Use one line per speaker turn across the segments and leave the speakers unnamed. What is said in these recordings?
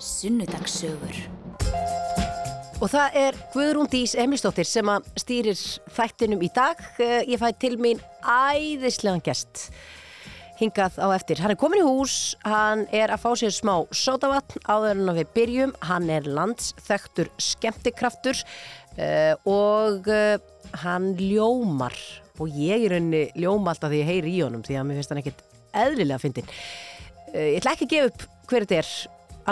Sunnudagssögur
Og það er Guðrún Dís Emilsdóttir sem að stýrir þættinum í dag. Eh, Ég fæ til mín æðislegan gest hingað á eftir. Hann er komin í hús, hann er að fá sér smá sódavatn áður en að við byrjum. Hann er landsþektur skemmtikraftur eh, og eh, hann ljómar og ég er henni ljóma alltaf því ég heyri í honum því að mér finnst hann ekkert eðlilega fyndin. Eh, Ég ætla ekki að gefa upp hver þetta er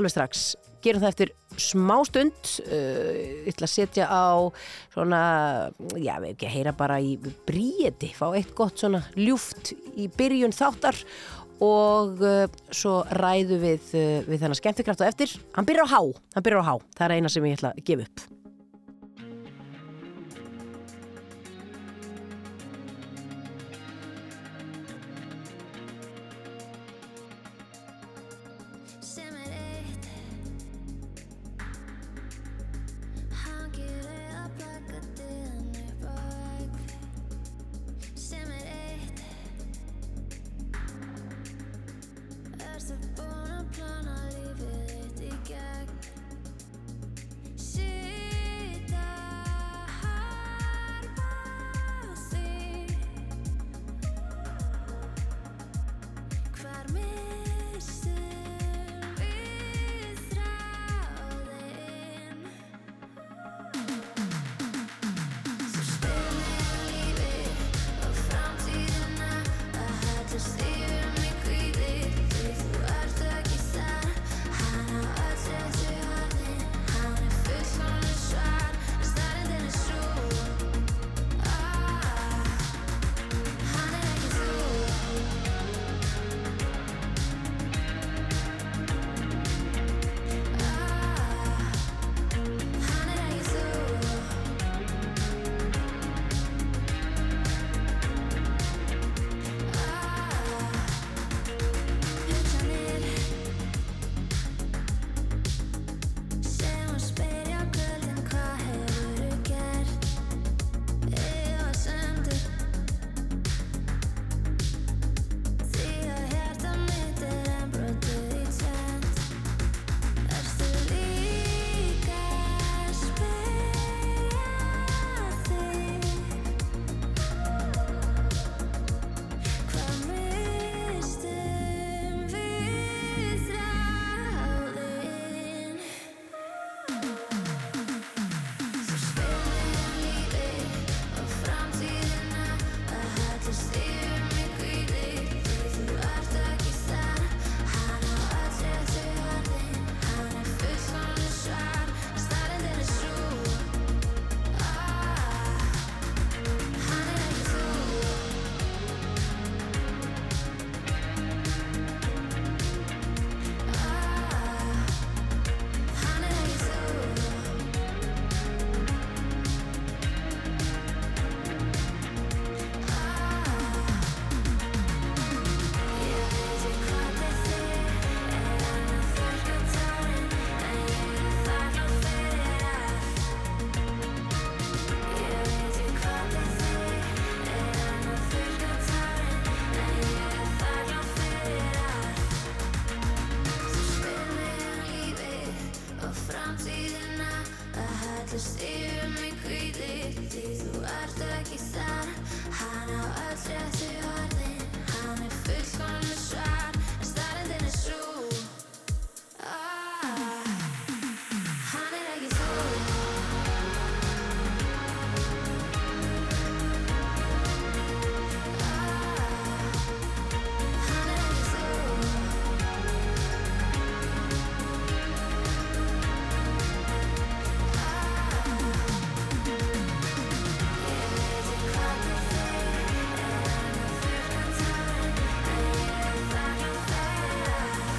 alveg strax. Gerum það eftir smá stund. eh, Ég ætla að setja á svona, já, við ekki að heyra bara í bríði, fá eitt gott svona ljúft í byrjun þáttar og uh, svo ræðu við, uh, við þennan skemmtikraft og eftir. Hann byrjar á há, hann byrjar á há. Það er eina sem ég ætla að gefa upp.
sem er eitt Hann gerir að plaka dýðan upp á vegg sem er eitt Ertu búin að plana lífið þitt í gegn Sýta harfa á því Hvar missum við þráðinn? Svo spilum lífið og framtíðina að hættast yfir mig kvíði Því þú ert ekki þar, hann á öll þessu hafðin Hann er fullkomlega svar, en staðrindin er svo Hann er ekki þú Því að hérta mitt er enn brotið í tvennt Erstu líka að spyrja þig Hvað mistum við þráðinn? Svo spilum lífið og framtíðina að hættast yfir mig kvíði Því þú ert ekki þar, hann á öll réttu hafðin Hann er fullkomlega svar, staðrindin er svo Hann er ekki þú Hann er ekki þú Framtíðina að hættast yfir mig kvíði Því þú ert ekki þar Hann á öll réttu orðin Hann er fullkomlega svar En staðrindin er svo ah, Hann er ekki þú Ah, Hann er ekki þú er er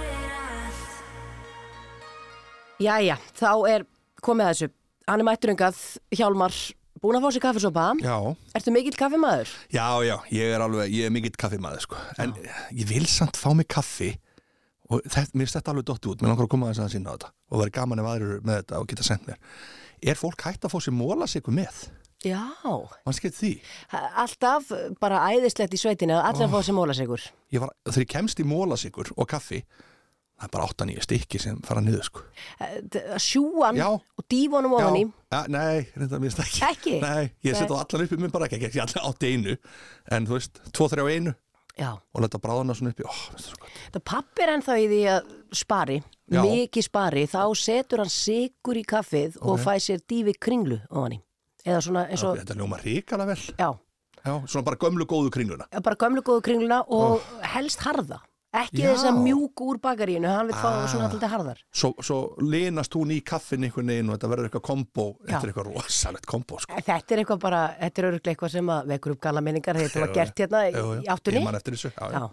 er
Jæja, þá er komið að þessu. Hann er mætturungað, Hjálmar, búin að fá sér kaffisopa.
Já,
Ertu mikill kaffimaður?
já, já, ég er alveg, ég er mikill kaffimaður sko En ég vil samt fá mig kaffi Og þetta, mér er þetta alveg dotti út Mér langar að koma þess að sína á þetta Og verið gaman ef aðrir eru með þetta og geta sendt mér Er fólk hægt að fá sér móla sigur með?
Já,
Manstu ekki eftir því?
alltaf bara æðislegt í sveitinu að allar fá sem mólasegur.
Ég var, þegar ég kemst í mólasykur og kaffi, það er bara 8-9 stykki sem fara niður, sko.
Sjúan
Já.
og dífonum ofan í.
ja, nei, reynda mér stakki.
Ekki?
Nei, ég setja á allan upp í minn bara ekki, ekki allan átti einu, en þú veist, 2-3 á einu
Já,
og leta bráðana svona upp í, ó, veist það svo gott.
það pappir ennþá í því að spari,
Já.
mikið spari, þá setur hann sigur í kaffið og fæ sér dífi kringlu ofan í. Eða svona eins og,
Þetta ljóma ríkala vel.
já,
Já, svona bara gömlu góðu kringluna.
bara gömlu góðu kringluna og helst harða. Ekki
Já. Ah.
þess að mjúk úr bakaríinu, hann vil fá það svona alltaf harðar.
Svo, svo linast hún í kaffin einhvern veginn og þetta verður eitthvað kombo, þetta er eitthvað rosalegt kombo, sko.
Þetta er eitthvað bara, þetta er öruglega eitthvað sem að vekur upp gala minningar, þetta var
Já,
gert hérna í,
Já, já,
í áttunni.
Ég man eftir þessu, já, já.
Já.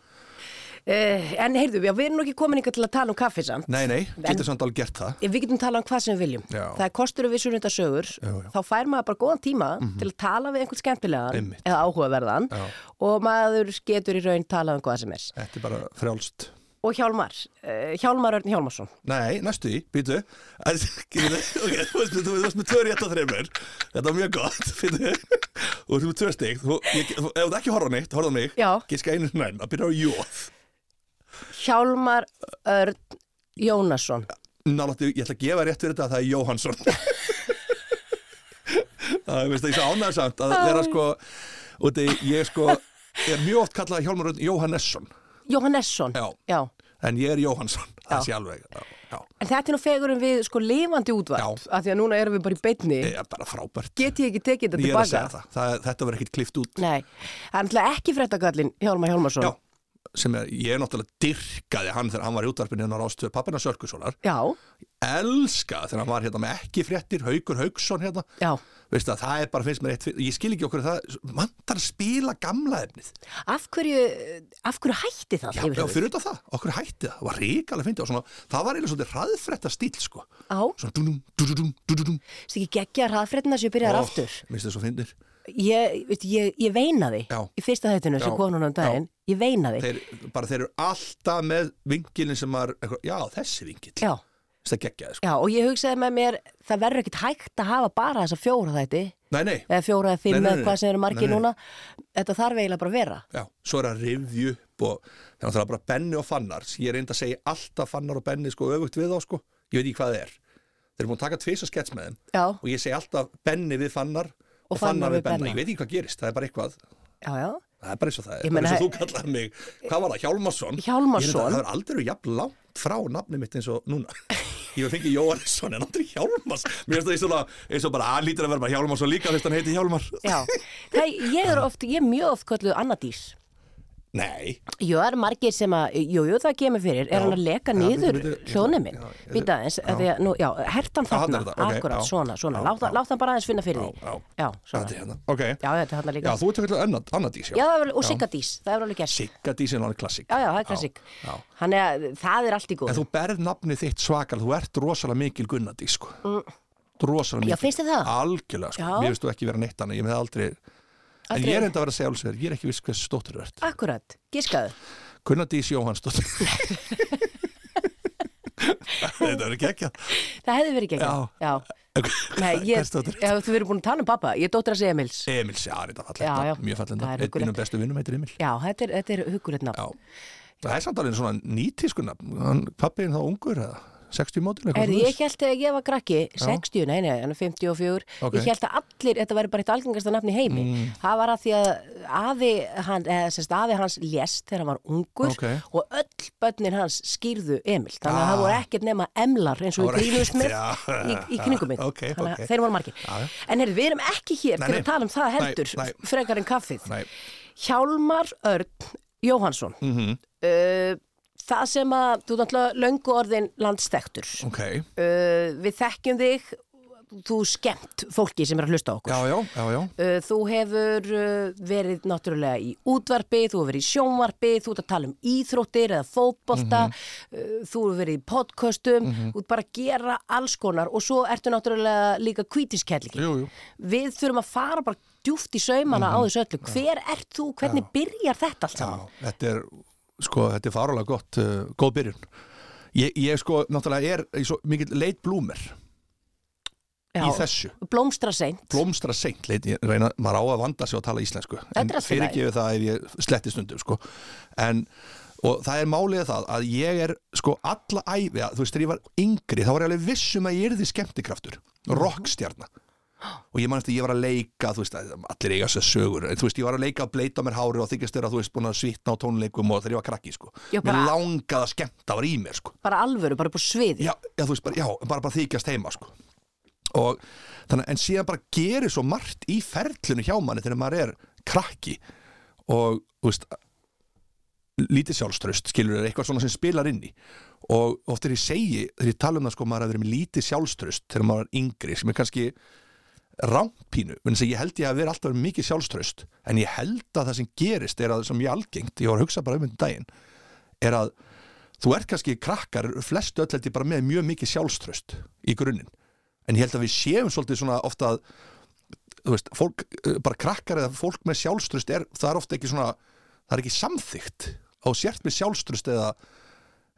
Uh, en heyrðu, já, við erum nú ekki komin ykkur til að tala um kaffið samt.
Nei, nei, getur samt alveg gert það.
Við getum talað um hvað sem við viljum.
Já.
Það er kostur við sunnunda sögur,
já. Mhm.
þá fær maður bara góðan tíma til að tala við einhvern skemmtilegan
Einmitt.
eða áhugaverðan
Já.
og maður getur í raun talað um hvað sem er.
Þetta er bara frjálst.
Og Hjálmar, uh, Hjálmar Örn Hjálmarsson.
Nei, næstu því, býtu. En- býtu, Ok, þú veist, þú veist með tvö rétt og þreymur. Þetta var mjög gott, býtu. Þú veist með tvö stig. Þú, ég, þú, ef þú ekki horfa á neitt, horfa á mig.
Já.
Giska einu næn, að byrja á jóð.
Hjálmar Örn Jónasson.
Náláttu, ég ætla að gefa rétt fyrir þetta að það er Jóhansson. Það er, veist, ég svo ánægð samt að vera sko, úti, ég sko, er mjög oft kallað Hjálmar Örn Jóhannesson.
Jóhannesson.
Já.
Já.
En ég er Jóhansson,
Já.
það sé alveg. Já, já.
En þetta er nú fegurum við sko lifandi útvarp, af því að núna erum við bara í beinni.
Ég er bara frábært.
Get ég ekki tekið þetta
Eh, Ég er að
tilbaka?
segja það. það þetta verður ekkert klift út.
Nei, það er náttúrulega ekki fréttakallin Hjálmar Hjálmarsson.
Já, sem er, ég er náttúrulega dyrkaði hann þegar hann var í útvarpinu en á rástöðu pappina Sörkusólar.
Já,
Elska þegar hann var hérna með ekki fréttir, Haukur Hauksson hérna.
já.
Veist að það er bara, finnst mér eitt, ég skil ekki okkur það, mann þarf að spila gamla efnið.
Af hverju, af hverju hætti það?
Já,
yfir
já
höfuð?
fyrir þetta það, okkur hætti það, það var ríkalega fyndið og svona, það var eiginlega svolítið hraðfretta stíl, sko.
Á,
Svona dúdum, dúdum, dúdum.
það ekki geggja hraðfréttina sem ég byrjaði aftur.
Minnst þess að fyndir.
Ég, veit, ég, ég veinaði
Já.
í fyrsta þættinu sem
Já,
konun á daginn. Ég veinaði.
Þeir, bara þeir eru alltaf með vingilin sem er, eitthvað, já, þessi vingil.
Já,
Það geggjaði, sko.
já, og ég hugsaði með mér, það verður ekkit hægt að hafa bara þessa fjóra þætti,
Nei, nei,
eða fjóra eða fimm
Nei, nei,
eða
nei,
hvað sem eru margir
nei, nei.
núna. Þetta þarf eiginlega bara að vera.
Já, svo er að rifju upp og þannig að það er bara Benni og Fannar ég er einnig að segja alltaf Fannar og Benni sko öfugt við þá sko, ég veit ekki hvað það er þeir eru búin að taka tvisa skets með þeim
Já,
og ég segi alltaf Benni við Fannar og, Fannar við Benna, ég veit ekki hvað gerist, það er bara eitthvað
já, já.
það er bara eins og það
Ég
er,
meina,
bara eins og þú kallaði mig hvað var það, Hjálmarsson?
Hjálmarsson.
Ég er þetta- Það er aldrei jafn langt frá nafni mitt eins og núna Ég var fengið Jóhannesson en aldrei Hjálmars Mér finnst það eins og bara- eins og bara aðlítur að vera bara Hjálmarsson líka fyrst hann heiti Hjálmar
Já, það, ég er oft, ég er mjög oft kölluð Annadís.
Nei,
Jú, það eru margir sem að, jú, jú, það kemur fyrir, er hann að leka
Já,
niður
bíddu, bíddu,
hljóðnuminn?
já, ég-
Býta aðeins, að því að, nú, já, hertan
þarna
þarna,
er þetta, ok,
akkurat,
já,
svona, svona,
já,
lát,
já.
lát hann bara aðeins finna fyrir
Já,
því.
já.
Já,
þetta
svona,
er
já,
hérna, ok
þetta er þarna
Já,
líka.
þú ert ekki alltaf annadís,
Já, það er vel, og Siggadís, það er vel alveg gert.
Siggadís er náttúrulega klassik.
Já, já, það er klassik.
Já.
Þannig að það er allt í
En
góð.
þú berð nafnið þitt svakal, þú ert rosalega mikil Gunnadís, sko. Rosalega mikil.
Mm. Já, finnst þér það?
Algjörlega, sko.
Já.
Mér finnst þú ekki vera neitt annað, ég með aldrei... En
Aldrei.
ég er enda að vera að segja alls verið, ég er ekki viss hvers stóttur þú ert.
Akkurat, gískaðu.
Gunnadís Jóhannsdóttir. Þetta verður gekkja.
Það hefði verið gegn.
Já.
já. Nei, ég,
Hvers dóttir?
ef þú verið búin að tala um pappa, ég er dóttir að segja Emils.
Emil, já, þetta er
Já, já.
fallegt. Mjög fallegt.
Það er
Einn
huggulegt.
minnum bestu vinnum heitir Emil.
Já, þetta er, þetta er hugulegt nafn.
Já. Það er samt alveg svona nýtískunna. Pappiðin þá ungur, eða? 60 mótil eitthvað
Er,
svoleiðis?
ég held að ég var krakki, 60, nei, nei, hann er 54,
Ok. Mm.
ég held að allir, þetta væri bara eitt algengasta nafn í heimi. Það var að því að afi, hann, eða, sérst, afi hans lést þegar hann var ungur
Ok.
og öll börnin hans skýrðu Emil. Þannig að
Ah.
það voru ekkert nema emlar eins og við
Það voru
grínumst með
ekkert, já.
í, í kningum minn.
Ok,
Þannig að
ok.
þeir voru margir.
Já, já.
En heyrðu, við erum ekki hér
Nei,
til
nei.
að tala um það
Nei,
heldur,
nei.
frekar en kaffið.
Nei.
Hjálmar Örn Jóhansson. Mm
Mhm.
það sem að, þú náttúrulega löngu orðin landstektur
Ok,
uh, við þekkjum þig þú skemmt fólki sem er að hlusta á okkur
já, já, já, já.
uh, þú hefur uh, verið náttúrulega í útvarpi þú hefur verið í sjónvarpi, þú ert að tala um íþróttir eða fótbolta
Mhm.
uh, þú hefur verið í podcastum þú ert bara að gera alls konar og svo ertu náttúrulega líka kvítiskellingi
Jú, Mhm. jú.
við þurfum að fara bara djúft í saumana á þessu öllu hver ert þú, hvernig byrjar þetta allt
Já,
saman?
þetta er, sko, þetta er farulega gott, uh, góð byrjun. Ég, ég sko, náttúrulega er ég svo, mikill leit blúmer.
Já.
í þessu
Blómstra seint.
blómstra seint, leit, ég reyna, maður á að vanda sig að tala íslensku, en
Þetta er allt í lagi.
fyrirgefi það ef ég sletti stundum, sko en, og það er málið það að ég er sko alla æfi, að, þú veist, þegar ég var yngri, þá var ég alveg vissum að ég yrði skemmtikraftur,
Mhm.
rockstjarna og ég man eftir, ég var að leika þú veist, að allir eiga sér sögur en, þú veist, ég var að leika að bleita mér hári og þykist þeirra þú veist, búin að svitna á tónleikum og þegar ég var krakki sko.
Já,
mér
bara-
langaði að skemmta var í mér sko.
Bara alvöru, bara upp á sviði.
já, já, þú veist, bara, já, bara, bara þykjast heima sko. og þannig en síðan bara gerir svo margt í ferlinu hjá manni þegar maður er krakki og þú veist lítið sjálfströst, skilur þér, eitthvað svona sem spilar inn í og oft er ég segi þegar ég tala um það sko, maður er að vera með lítið sjálfströst þegar maður er yngri, sem er kannski rámpínu, menn sem ég held ég að vera alltaf mikið sjálfströst, en ég held að það sem gerist er að, sem ég algengt, ég var að hugsa bara um þetta um daginn, er að þú ert kannski krakkar, flestu öll held ég bara með mjög mikið sjálfströst í grunninn en ég held að við séum svolítið svona ofta að þú veist, fólk, eh, bara krakkar eða fólk með sjálfströst er, það er ofta ekki svona það er ekki samþygt á sért með sjálfströst eða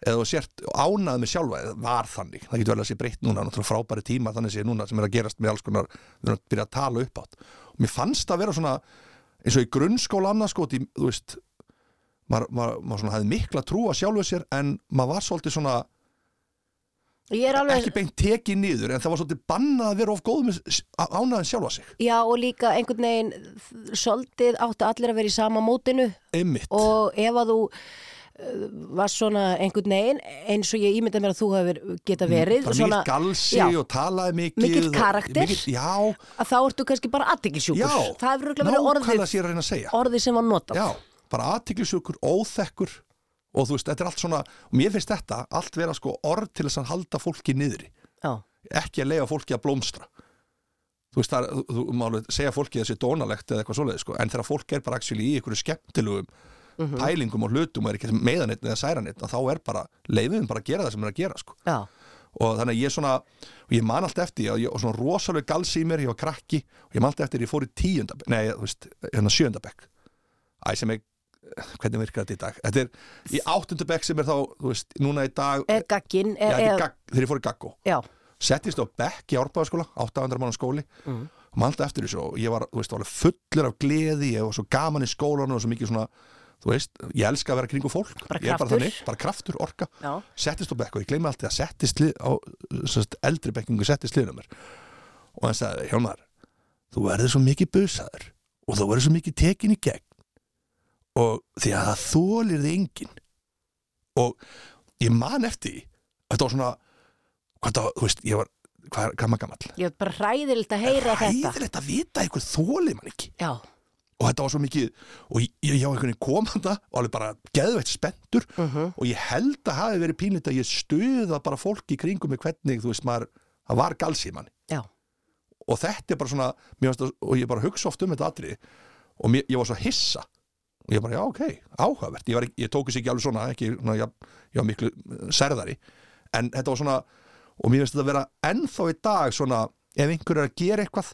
eða þú sért ánað með sjálfa eða var þannig, það getur vel að sé breytt núna náttúrulega frábæri tíma þannig sé núna sem er að gerast með alls konar, við erum að byrja að tala upp átt og mér fannst að vera svona eins og í grunnskóla annars sko, því, þú veist maður, maður, maður svona hafði mikla trú að sjálfu sér en maður var svolítið svona
Ég er alveg...
ekki beint tekið niður en það var svolítið bannað að vera of góð með s- á- ánaðan sjálfa sig
Já, og líka einhvern veginn, þ- svolítið áttu allir að vera í sama mótinu
einmitt,
og ef að þú uh, varst svona einhvern veginn eins og ég ímynda mér að þú hefur geta verið
Mm, bara
svona,
mikill galsi
já,
og talaði mikið
Mikill
og-
karakter.
mikill- já,
að þá ertu kannski bara aðtikilsjúkur
já,
það hefur örugglega verið orðið,
nákvæmlega sér að reyna að segja
orðið sem var notað
Já, bara aðtiklisjókur, óþekkur og þú veist, þetta er allt svona og mér finnst þetta allt vera sko orð til þess að halda fólki niðri,
Já.
ekki að leifa fólki að blómstra þú veist, það er, þú- þú málu segja fólki þessi dónalegt eða eitthvað svoleið sko, en þegar fólk er bara actually í einhverju skemmtilegum Mhm. pælingum og hlutum og er ekki meðanetn eða særanetn, þá er bara leiðum bara að gera það sem er að gera sko
Já.
og þannig að ég svona og ég man alltaf eftir, ég, og svona rosalega galsi í mér ég var krakki og ég man alltaf eftir ég fór í tíundabekk, nei, þú veist, hérna sjöundabekk æ, sem er, hvernig virkar þetta í dag þetta er í áttundabekk sem er þá þú veist, núna í dag
eða gagginn
já,
eða,
þetta er
eða-
gagg, þegar ég fór í gaggó
já,
settist á bekk í árbæðaskóla 800 mann skóli mm. og maður alltaf eftir þessu og ég var, þú veist, alveg fullur af gleði ég var svo gaman í skólanum og svo mikið svona þú veist, ég elska að vera kringu fólk
Bara
ég er bara
kraftur.
þannig, bara kraftur, orka
Já.
settist á bekk og ég gleymi alltaf að settist lið á sem sagt, eldri bekkingu settist liðnum mér og hann sagði, Hjálmar þú verður svo mikið busaður og þú verður svo mikið tekin í gegn og því að það þólir þið enginn og ég man eftir því, þetta var svona hvað það, þú veist, ég var hvað, hvað maður gamall
ég er bara hræðilegt að heyra þetta
Hæðilegt að vita að einhver þóli mann ekki
já,
og þetta var svo mikið og ég, ég á einhvern veginn komanda og alveg bara geðveitt spenntur og ég held að hafi verið pínlít að ég stuða bara fólk í kringum mig hvernig, þú veist, maður það var galsi í manni
já,
og þetta er bara svona, mér varst að, og ég bara hugsa oft um þetta atrið og mér, ég var svo hissa og ég bara, já, ok, áhugavert ég, var, ekki- ég tókis ekki alveg svona, ekki, svona ég, ég var miklu eh, særðari en þetta var svona, og mér finnst þetta að vera ennþá í dag svona, ef einhver er að gera eitthvað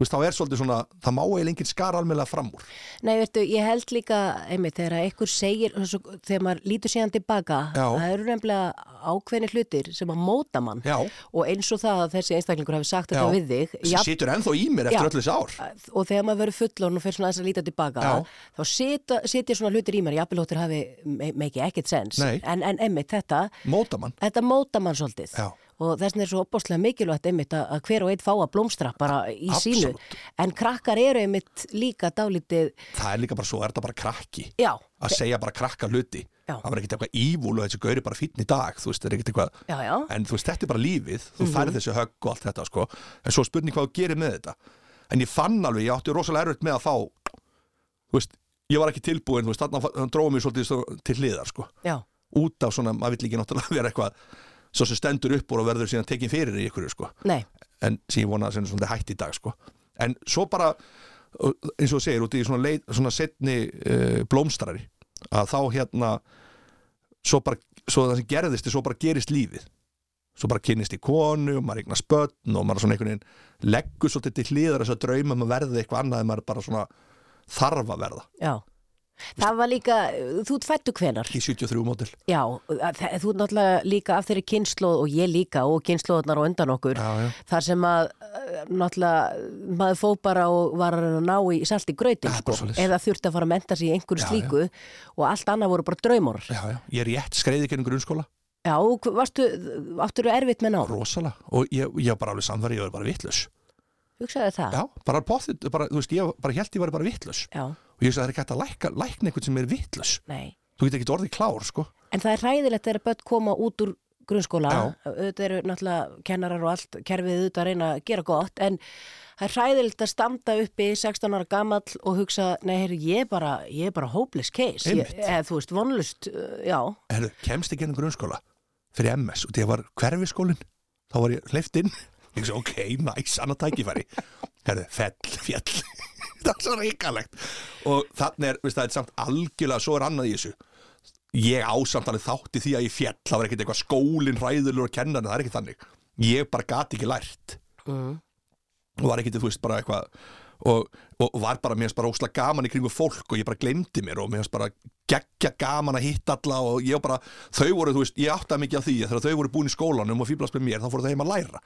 þú veist, þá er svolítið svona, það má eiginlega enginn skara almennlega fram úr
nei veitu, ég held líka einmitt þegar að einhver segir svo, þegar maður lítur síðan tilbaka
Já.
það eru nefnilega ákveðni hlutir sem að móta mann
já,
og eins og það að þessi einstaklingur hafi sagt þetta
Já.
við þig
sem
jafn-
situr ennþá í mér
Já.
eftir öll þessi ár
og þegar maður verður fullon og fer svona aðeins að líta tilbaka
Já.
þá setja, setja svona hlutir í mér jafnvelóttir hafi me- make ekkert sens
Nei.
en, en emmitt þetta
móta mann,
þetta móta mann svolítið
Já.
og þess vegna er svo opbáslega mikilvægt einmitt að að hver og einn fá að blómstra bara í sínu
Absolutt.
en krakkar eru einmitt líka dálítið
það er líka bara svo, er þetta bara krakki
já,
að segja bara krakka hluti
Já.
það var ekkert eitthvað ívúl og þessi gauri bara fínn í dag þú veist, það er ekkert eitthvað
já, já,
en þú veist, þetta er bara lífið, þú færð þessi högg og allt þetta sko, en svo er spurning hvað þú gerir með þetta en ég fann alveg, ég átti rosalega erfitt með að fá þú veist, ég var ekki tilbúin þú veist, þannig að hann dróði mig svolítið svo- til hliðar sko,
já,
út af svona, maður vill ekki náttúrulega vera eitthvað svo sem stendur upp úr og verður síðan tekin fyrir í ykkur sko
nei
en sem ég vona að sem er svona hætt í dag sko. en svo bara uh, eins og þú segir út í svona, leit, svona setni uh, blómstrari að þá hérna svo bara, svo það sem gerðist er svo bara gerist lífið svo bara kynnist í konu og maður eignast börn og maður svona einhvern veginn leggur svolítið til hliðar þess að drauma um að verða eitthvað annað en maður bara svona þarf að verða
já, Það var líka, þú ert fættu hvenar.
í 73 mótil
Já, að- þa- þú ert náttúrulega líka af þeirri kynnslóð og ég líka og kynnslóðnar og undan okkur.
Já, já.
Þar sem að eh, náttúrulega maður fó bara og var að reyna að ná í salt í gröytin
Já,
sko.
bara svoleiðis.
Eða þurfti að fara að menta sig í einhverju
Já, já.
slíku og allt annað voru bara draumor.
já, já. ég er rétt skreiði genið grunnskóla
Já, og hv- varstu, áttur þú erfitt með nám?
rosalega og ég, ég var bara alveg samverð ég var bara vitlaus
Hugsaðu það?
já, bara bóðið, bara, þú veist, ég bara held ég var bara vitlaus
Já,
og ég veist að það er ekki hægt að lækka, lækna einhvern sem er vitlaus
nei.
þú getur ekki orðið klár, sko
En það er hræðilegt þegar börn koma út úr grunnskóla,
Já.
auðvitað eru náttúrulega kennarar og allt, kerfið auðvitað að reyna að gera gott, en það er hræðilegt að standa uppi 16 ára gamall og hugsa, nei, heyrðu, ég er bara, ég er bara hopeless case, ég,
Einmitt.
eða þú veist, vonlust, uh, já,
Herru, kemst ekki inn í grunnskóla fyrir MS og þegar var hverfiskólin þá var ég hleyft inn ég svo ok, næs, annað tækifæri herru, fell, fjall það er svo reikalegt og þannig er, veist það er samt algjörlega svo er annað í þessu ég ásamt alveg þátti því að ég fjall það var ekkert eitthvað skólin hræðulur og kennan það er ekki þannig, ég bara gat ekki lært Mm. og var ekkert, þú veist, bara eitthvað og, og var bara, mér finnst bara ósla gaman í kringu fólk og ég bara glemdi mér og mér finnst bara geggja gaman að hitta alla og ég bara, þau voru, þú veist, ég áttaði mikið á því að þegar þau voru búin í skólanum og fýblast með mér þá fóru þau heim að læra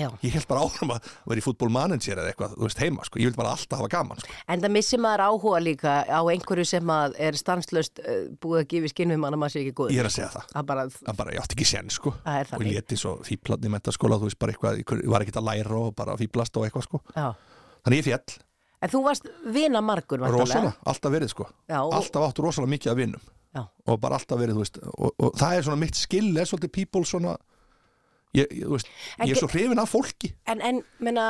já.
ég held bara áfram að vera í fútbolmanager eða eitthvað, þú veist, heima, sko, ég vil bara alltaf hafa gaman sko.
En það missir maður áhuga líka á einhverju sem að er stanslöst uh, búið að gefa skinnum hann að maður sé ekki góð.
ég er að segja það
Það bara,
að bara ég átti ekki sén sko
Það er
og
þannig.
leti svo fýblatni í mentaskóla þú veist bara eitthvað, ég var ekkert að læra og bara fýblast og eitthvað sko
já.
þannig ég fjall,
En þú varst vina margur,
rosalega, alltaf verið sko
Já, og-
alltaf átt rosalega mikið að vinnum
Já,
og bara alltaf verið, þú veist og, og það er svona mitt skill, er svolítið people svona ég, ég, þú veist, ég er
Ekki-
svo hrifin af fólki
En, en, menna,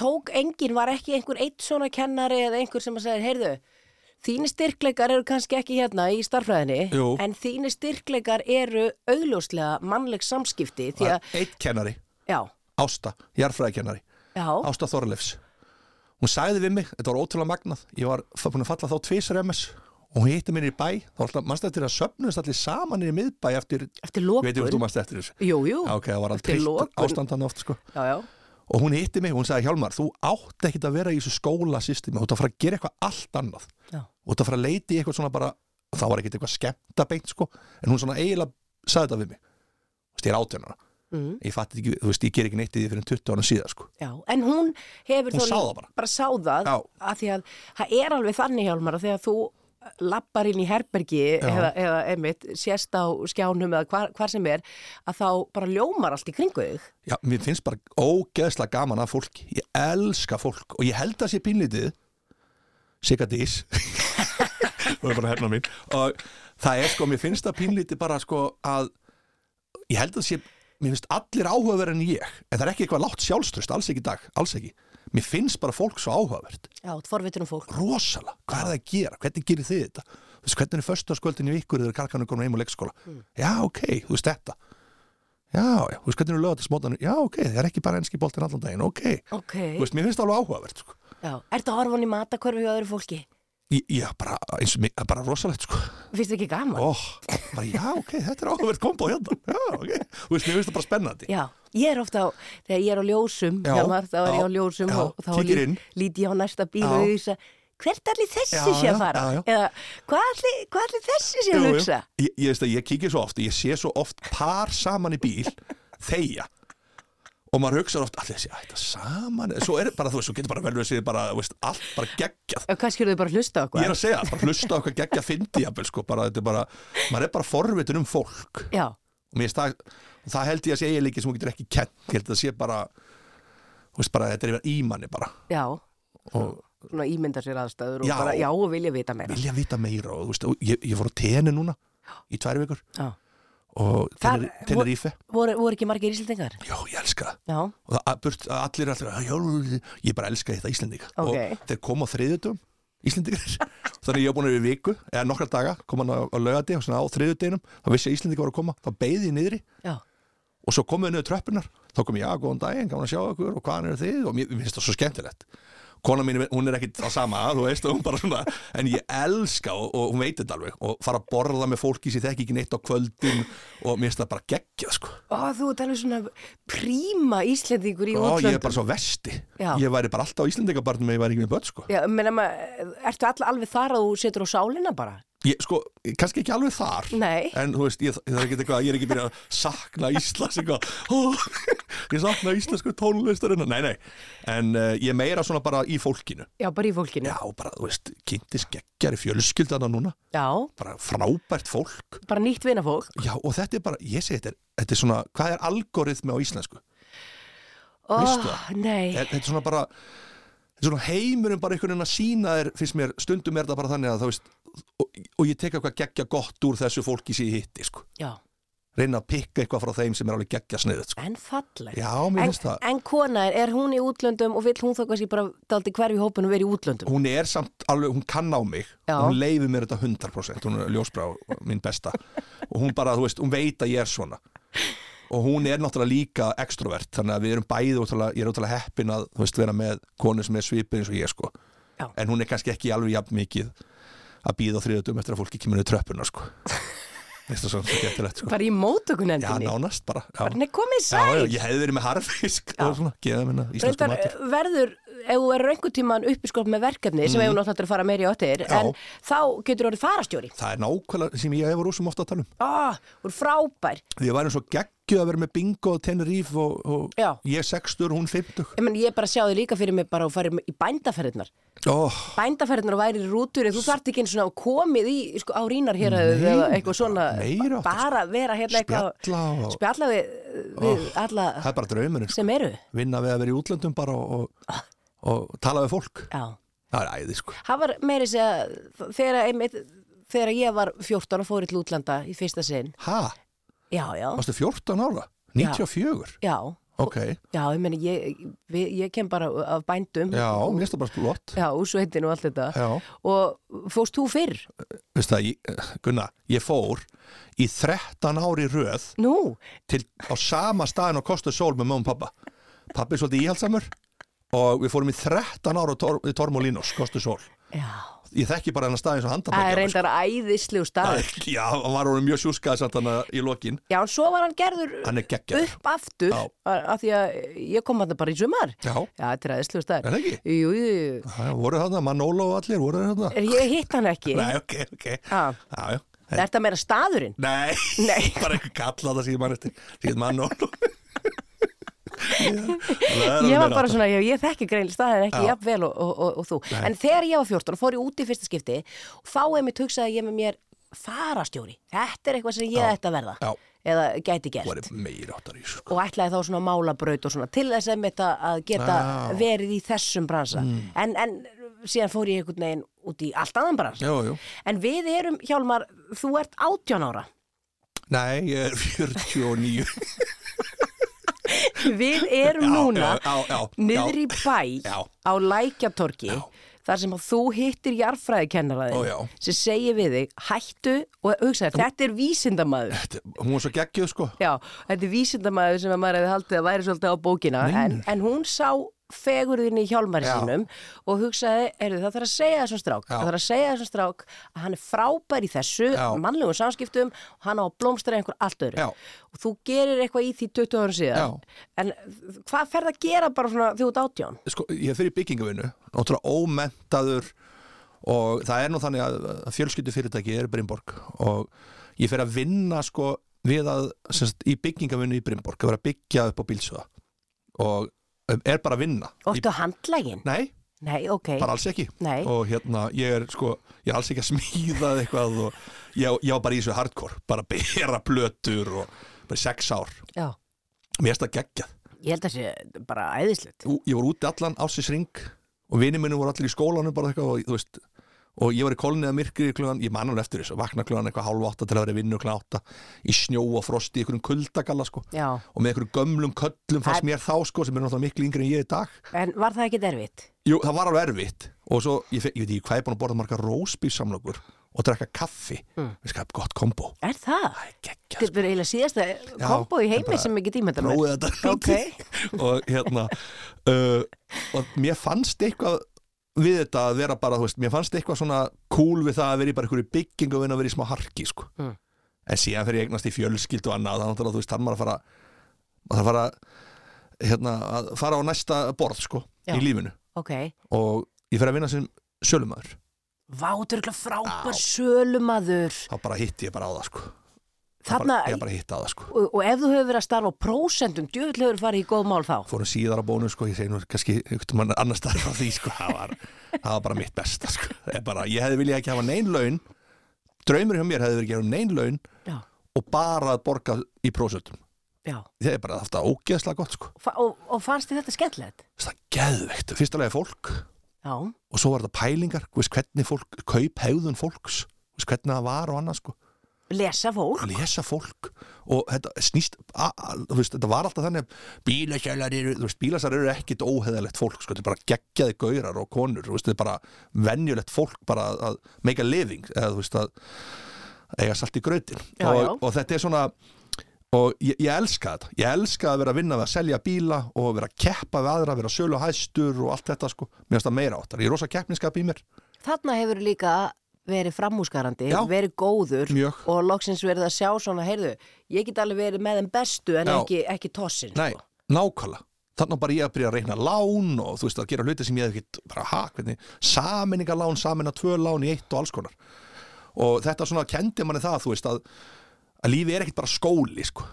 tók enginn, var ekki einhver eitt svona kennari eða einhver sem að segja, heyrðu, þínir styrkleikar eru kannski ekki hérna í starfræðinni,
Jú.
en þínir styrkleikar eru augljóslega mannleg samskipti, því
það
að,
er eitt kennari,
já,
Ásta, jarfræðikennari
já,
Ásta Þorleifs hún sagði við mig, þetta var ótrúlega magnað ég var f- búin að falla þá tvisar MS og hún hitti mér í bæ, þá var alltaf mannst eftir að söfnumst allir saman niður í miðbæ eftir,
eftir
ég
lokun,
veit ég hvort þú mannst eftir þessu
jú, jú,
Já, ok, það var
Eftir lokun.
alltaf ástandan oft sko.
já, já,
og hún hitti mig, hún sagði Hjálmar, þú átt ekkit að vera í þessu skólasystemi, þú átt að fara að gera eitthvað allt annað
já,
og það fara að leita í eitthvað svona bara það var ekkert eitthvað skemmta beint sko en hún svona eiginlega sagði þetta við mig þú veist, ég er átjönara
mm,
ég fatti ekki, þú veist, ég ger ekki neitt í því fyrir 20 ára síðan sko
já, en hún hefur
Hún
þó-
sá það bara.
bara sá það,
Já.
að því að það er alveg þannig hjálmar að þegar þú lappar inn í herbergi eða, eða einmitt sérst á skjánum eða hvar, hvar sem er að þá bara ljómar allt í kringu þig
já, mér finnst bara ógeðslega gaman að fólki ég elska fólk og ég held að sé pínlítið Sigga Dís það er bara hefna mín og það er sko, mér finnst það pínlítið bara sko að ég held að sé, mér finnst allir áhugaverð en ég en það er ekki eitthvað látt sjálfströst, alls ekki í dag, alls ekki mér finnst bara fólk svo áhugavert
Já, þetta forvitur um fólk.
rosalega, hvað er það að gera, hvernig gerir þið þetta þú veist, hvernig er föstaskvöldin í ykkur þegar karkanu komin heim úr leikskóla já, ok, þú veist þetta já, já, þú veist, hvernig eru lögatarsmótan já, ok, það er ekki bara ennski boltin allan daginn ok,
Ok.
þú veist, mér finnst það alveg áhugavert sko.
Já. Ertu að horfa hann í matakörfi hjá öðru fólki?
ég, ég bara, eins og mér, bara rosalegt sko.
Finnst þið ekki gaman?
oh, bara, já, ok, þetta er áhugavert kombo hérna, já, ok, þú veist, mér finnst það bara spennandi
Já. Ég er ofta á, þegar ég er á ljósum,
Já,
Hjálmar, þá er ég á
já,
ljósum
já,
og þá
kíkir inn.
lít ég á næsta bíl
Já.
og hugsa, hvert allir þessi
Já,
sé að
já,
fara?
já, já.
Eða hvað allir, hvað allir þessi sé
Jú,
að
jú.
hugsa?
Ég, ég veist að ég kíkja svo oft, ég sé svo oft par saman í bíl, þeia og maður hugsa oft allir þessi, ætta saman, svo er bara þú veist, þú getur bara vel verið að segja bara, þú veist, allt bara geggjað
Eða kannski eru þau bara að hlusta á
ég er
okkur?
að segja, það, bara hlusta okkar geggjað fyndi jafnvel, sko, bara, þetta er bara, maður er bara forvitin um fólk
Já.
og mér finnst það, það held ég að sé eiginleiki sem hún getur ekki kent, ég held að það sé bara þú veist bara, þetta er yfir ímanni bara
Já.
og
Svona ímynda sér aðstæður og
Já.
bara, já, og vilja vita meira.
vilja vita meira og þú veist, og ég, ég fór á teni núna í tvær vikur
Já.
og
Þar-
tenir ífe,
Voru, voru ekki margir íslendingar?
já, ég elska það
Já.
og það, burt, að allir allir að, já, ég bara elska þetta Íslendinga
Ok.
og þeir koma á þriðutum Íslendingar, þannig ég var búin að við viku eða nokkra daga, kom hann á, á lögadi og svona á þriðutinum, þá vissi að Íslendingar var að koma þá beði ég niðri
Já.
og svo komum við niður tröppunar þá kom ég, já, góðan daginn, gaman að sjá ykkur og hvaðan eru þið og mér mér finnst það svo skemmtilegt kona mín, hún er ekkit það sama þú veist, hún bara svona, en ég elska og, og hún veit þetta alveg, og fara að borða með fólki sem ég þekki ekki neitt á kvöldin og mér finnst það bara geggjað, sko
Ó, þú ert alveg svona príma Íslendingur í
og ég
útlöndum
er bara svo vesti
Já.
ég væri bara alltaf á Íslendingabarnum ef ég væri ekki með börn, sko
Já, menna maður, ertu all, alveg þar að þú setur á sálina bara?
ég, sko, kannski ekki alveg þar
Nei.
en þú veist, ég, það er ekki eitthvað ég er ekki byrjað að sakna Íslands eitthvað ó, ég sakna íslensku tónlistarinn nei, nei, en uh, ég er meira svona bara í fólkinu
Já, bara í fólkinu.
já, bara, þú veist, kynntis geggjari fjölskyldana núna,
Já,
bara frábært fólk
bara nýtt vinafólk.
já, og þetta er bara, ég segi þetta er, þetta er svona, hvað er algoritmi á íslensku
Ó,
Veistu það? Eh.
Nei,
Er- þetta er svona bara þetta er svona heimurinn bara einhvern veginn að sína þér finnst mér, stundum er það bara þannig að það veist og, og ég tek eitthvað geggja gott úr þessu fólki sem ég hitti, sko
já,
reyna að pikka eitthvað frá þeim sem er alveg geggja sniðið sko.
en falleg.
Já, mér
En,
finnst það
en konan, er hún í útlöndum og vill hún þá kannski bara daldi hverfi hópinu verið í útlöndum?
Hún er samt alveg, hún kann á mig
Já.
Hún leifir mér þetta 100% Hún er ljósbrá, minn besta Og hún bara, þú veist, hún veit að ég er svona Og hún er náttúrulega líka extrovert Þannig að við erum bæði, útrúlega, ég er útrúlega heppin að Þú veist, vera með konu sem er svipið eins og ég sko.
Já.
En hún er kannski ekki alveg jafn mikið Að býða á þriðutum eftir að fólki kemur niður tröppuna sko. Veist það svona, svo getilegt sko.
Bara í
Já,
móttökunendinni?
nánast bara Já,
Bara, nei, komið
já, já
sæl!
ég hefði verið með harfisk og svona, geða minna íslensku
Reyndar eh,
matur
verður, ef þú verður einhvern tíman upp í skorp með verkefni sem hefur náttúrulega að fara meiri á þér,
Mhm. Já.
en þá getur orðið farastjóri.
Það er nákvæmlega sem ég hefur ósum ofta að tala um.
Ó, þú er frábær.
Því ég væri svo geggjuð að vera með bingo og Tenerife og, og
Já.
ég 60 og hún 50.
Ég, menn, ég bara sjá þig líka fyrir mig bara og farið í bændaferðirnar.
Ó,
bændaferðnar og væri rútur þú þart ekki eins og komið í sko, á rínar hér eða eitthvað svona
meira áttu,
bara vera hérna eitthvað
spjalla og-
spjalla við, við alla
það er bara draumurinn. Sem...
sem eru
Vinna við að vera í útlöndum bara og, og, og tala við fólk.
já.
Það er æði sko.
það var meiri segja þegar, einmitt, þegar ég var 14 og fór í til útlanda í fyrsta sinn
Ha?
já, já,
Varstu 14 ára? 94?
já,
Ok.
já ég, meni, ég, við, ég kem bara af bændum
Já, mér finnst það bara flott.
já úr sveitin og allt þetta
Já.
og fórst þú fyrr
Veist það, ég, Gunna, ég fór í 13 ári röð
nú,
til á sama staðin og kostu sól með mögum pappa. Pappi er svolítið íhaldsamur og við fórum í 13 ára tor, Tormolinos, kostu sól.
já
ég þekki bara hennar staðin sem
það er
handarbækja
reyndar æðislegu staður
Já, hann var orðin mjög sjúskaði samt hann í lokin
Já, en svo var hann gerður
Hann er geggjaður.
upp aftur
Já.
af því að ég kom hann bara í sumar.
Já.
þetta er aðeinslu staðar.
Er það ekki?
Jú, jú, jú.
Það voru þarna, Manolo og allir voru þarna
Er Eh, ég hitt hann ekki?
Nei, ok, ok
Ha.
Já, já
Er þetta meira staðurinn?
Nei,
Nei.
bara einhver kalla það síðan mann eftir síðan Manolo
Ég var bara svona, ég, ég þekki grein staðin ekki
Já.
jafn vel og, og, og, og þú. En þegar ég var 14 og fór ég út í fyrsta skipti og þá er mér tugsaði ég með mér farastjóri. Þetta er eitthvað sem ég ætti að verða.
Já.
Eða gæti gert.
Það var meira áttar í þessu sko.
og ætlaði þá svona málabraut og svona til þess að mitt að geta
Já. Mm.
verið í þessum bransa en, en síðan fór ég einhvern veginn út í allt annan bransa
Jú, jú
en við erum, Hjálmar, þú ert 18 ára
Nei, ég er 49
við erum
Já,
núna
já, já, já, já.
niður í bæ
Já.
á Lækjatorki
Já.
þar sem að þú hittir
Ó, já.
jarðfræðikennaraðin sem segir við þig, hættu og hugsaði, þetta er vísindamaður
Þetta- Hún var svo geggjuð sko
Já, þetta er vísindamaður sem að maður hefði haldið að væri svolítið á bókina en, en hún sá fegurðin í hjálmari
Já.
sínum og hugsaði, heyrðu það þarf að segja þessum strák það þarf að segja þessum strák að hann er frábær í þessu,
Já.
mannlegum samskiptum og hann á að blómstra í einhver allt öðru
Já.
og þú gerir eitthvað í því 20 árum síðan en hvað ferð að gera bara svona því út átján?
sko, ég fyrir byggingavinu náttúrulega ómentaður og það er nú þannig að fjölskyldu fyrirtæki er Brynborg og ég fyrir að vinna sko við að semst, í byggingavinu í Brynborg að vera að byggja upp á bílsöða og um, er bara að vinna
Óttu að handlægin?
Í- Nei,
Nei, ok
bara alls ekki
Nei.
og hérna, ég er sko ég er alls ekki að smíða eitthvað og ég, á- ég á bara í þessu hardcore, bara að bera plötur og bara í sex ár
Já,
mér erst að geggjað
ég held að sé bara æðislegt
Ú- ég voru úti allan ásins ring og vinið minni voru allir í skólanum bara eitthvað og, þú veist, og ég var í kolniða myrkri klugan, ég man alveg eftir þessu, vakna klugan eitthvað hálfa átta til að vera í vinnu klugan átta í snjó og frosti, í einhverjum kuldagalla sko
Já,
og með einhverjum gömlum köllum fannst
Það-
mér þá sko sem er náttúrulega miklu yngri en ég í dag
en var það ekki derfitt?
Jú, það var alveg erfitt og svo, ég, fe- ég veit ekki hvað ég er búin að borða marga rósbýrsamlokur og drekka kaffi mm. við skap gott kombo
Er Hmm. það?
geggjað
Þetta er eiginlega síðasta kombo í
þetta er
heimi
bara-
sem ég get ímynda mér.
prófið þetta og hérna uh, og mér fannst eitthvað við þetta að vera bara, þú veist, mér fannst eitthvað svona cool við það að vera í bara einhverju byggingu og vinna að vera í smá harki, sko
Mm.
en síðan fyrir ég eignast í fjölskyld og annað þannig að þú veist, þannig maður að fara maður þarf að fara hérna, að fara á næsta borð, sko,
Já.
í lífinu
Ok, ok.
og ég fer að vinna sem sölumæður
Vátur ekki frábær
Já.
sölumadur
þá bara hitti ég bara á það, sko
Þarna,
bara, ég bara hitti á það, sko
og, og ef þú hefur verið að starfa á prósentum djöfull hefur farið í góð mál þá
fórum síðar á bónu sko, ég segi nú kannski einhvern mann annars staðar frá því sko, það var, það var bara mitt besta sko. Það er bara, ég hefði viljað ekki hafa neyn laun draumur hjá mér hefði verið að gera neyn laun
Já,
og bara að borga í prósöldum
já
það er bara haft það ógeðslega gott sko.
Fa og, og fannst þið þetta skemmtilegt?
það er geðveikt, fyrst alveg fólk
Já,
og svo var þetta pælingar, þú veist hvernig fólk kaup hegðun fólks, þú veist hvernig það var og annað sko,
lesa fólk
lesa fólk og þetta snýst a, a, þú veist, þetta var alltaf þannig að bílasælar eru, þú veist, bílasælar eru ekkit óheðalegt fólk, sko, þetta er bara geggjaði gaurar og konur, þú veist, þetta er bara venjulegt fólk bara að- að make a living eða þú veist að eiga salt í grötin
Já,
og,
já.
og þetta er svona og ég, ég elska þetta, ég elska að vera að vinna við að selja bíla og vera að keppa við aðra, vera sölu hæstur og allt þetta sko, mér finnst það meira áttar, ég er rosa keppniskap í mér
Þarna hefur líka verið framhúsgarandi
Já.
verið góður
Mjög.
og loksins verið að sjá svona, heyrðu ég get alveg verið með þeim bestu en
Já.
ekki, ekki tossin
Nei,
sko.
nákvæmlega Þannig að bara ég að byrja að reyna lán og þú veist að gera hluti sem ég hef ekkert bara ha, hvernig, saminningalán, saminna tvö lán í eitt og alls konar og þetta svona kendi manni það þú veist að, að lífi er ekkert bara skóli sko.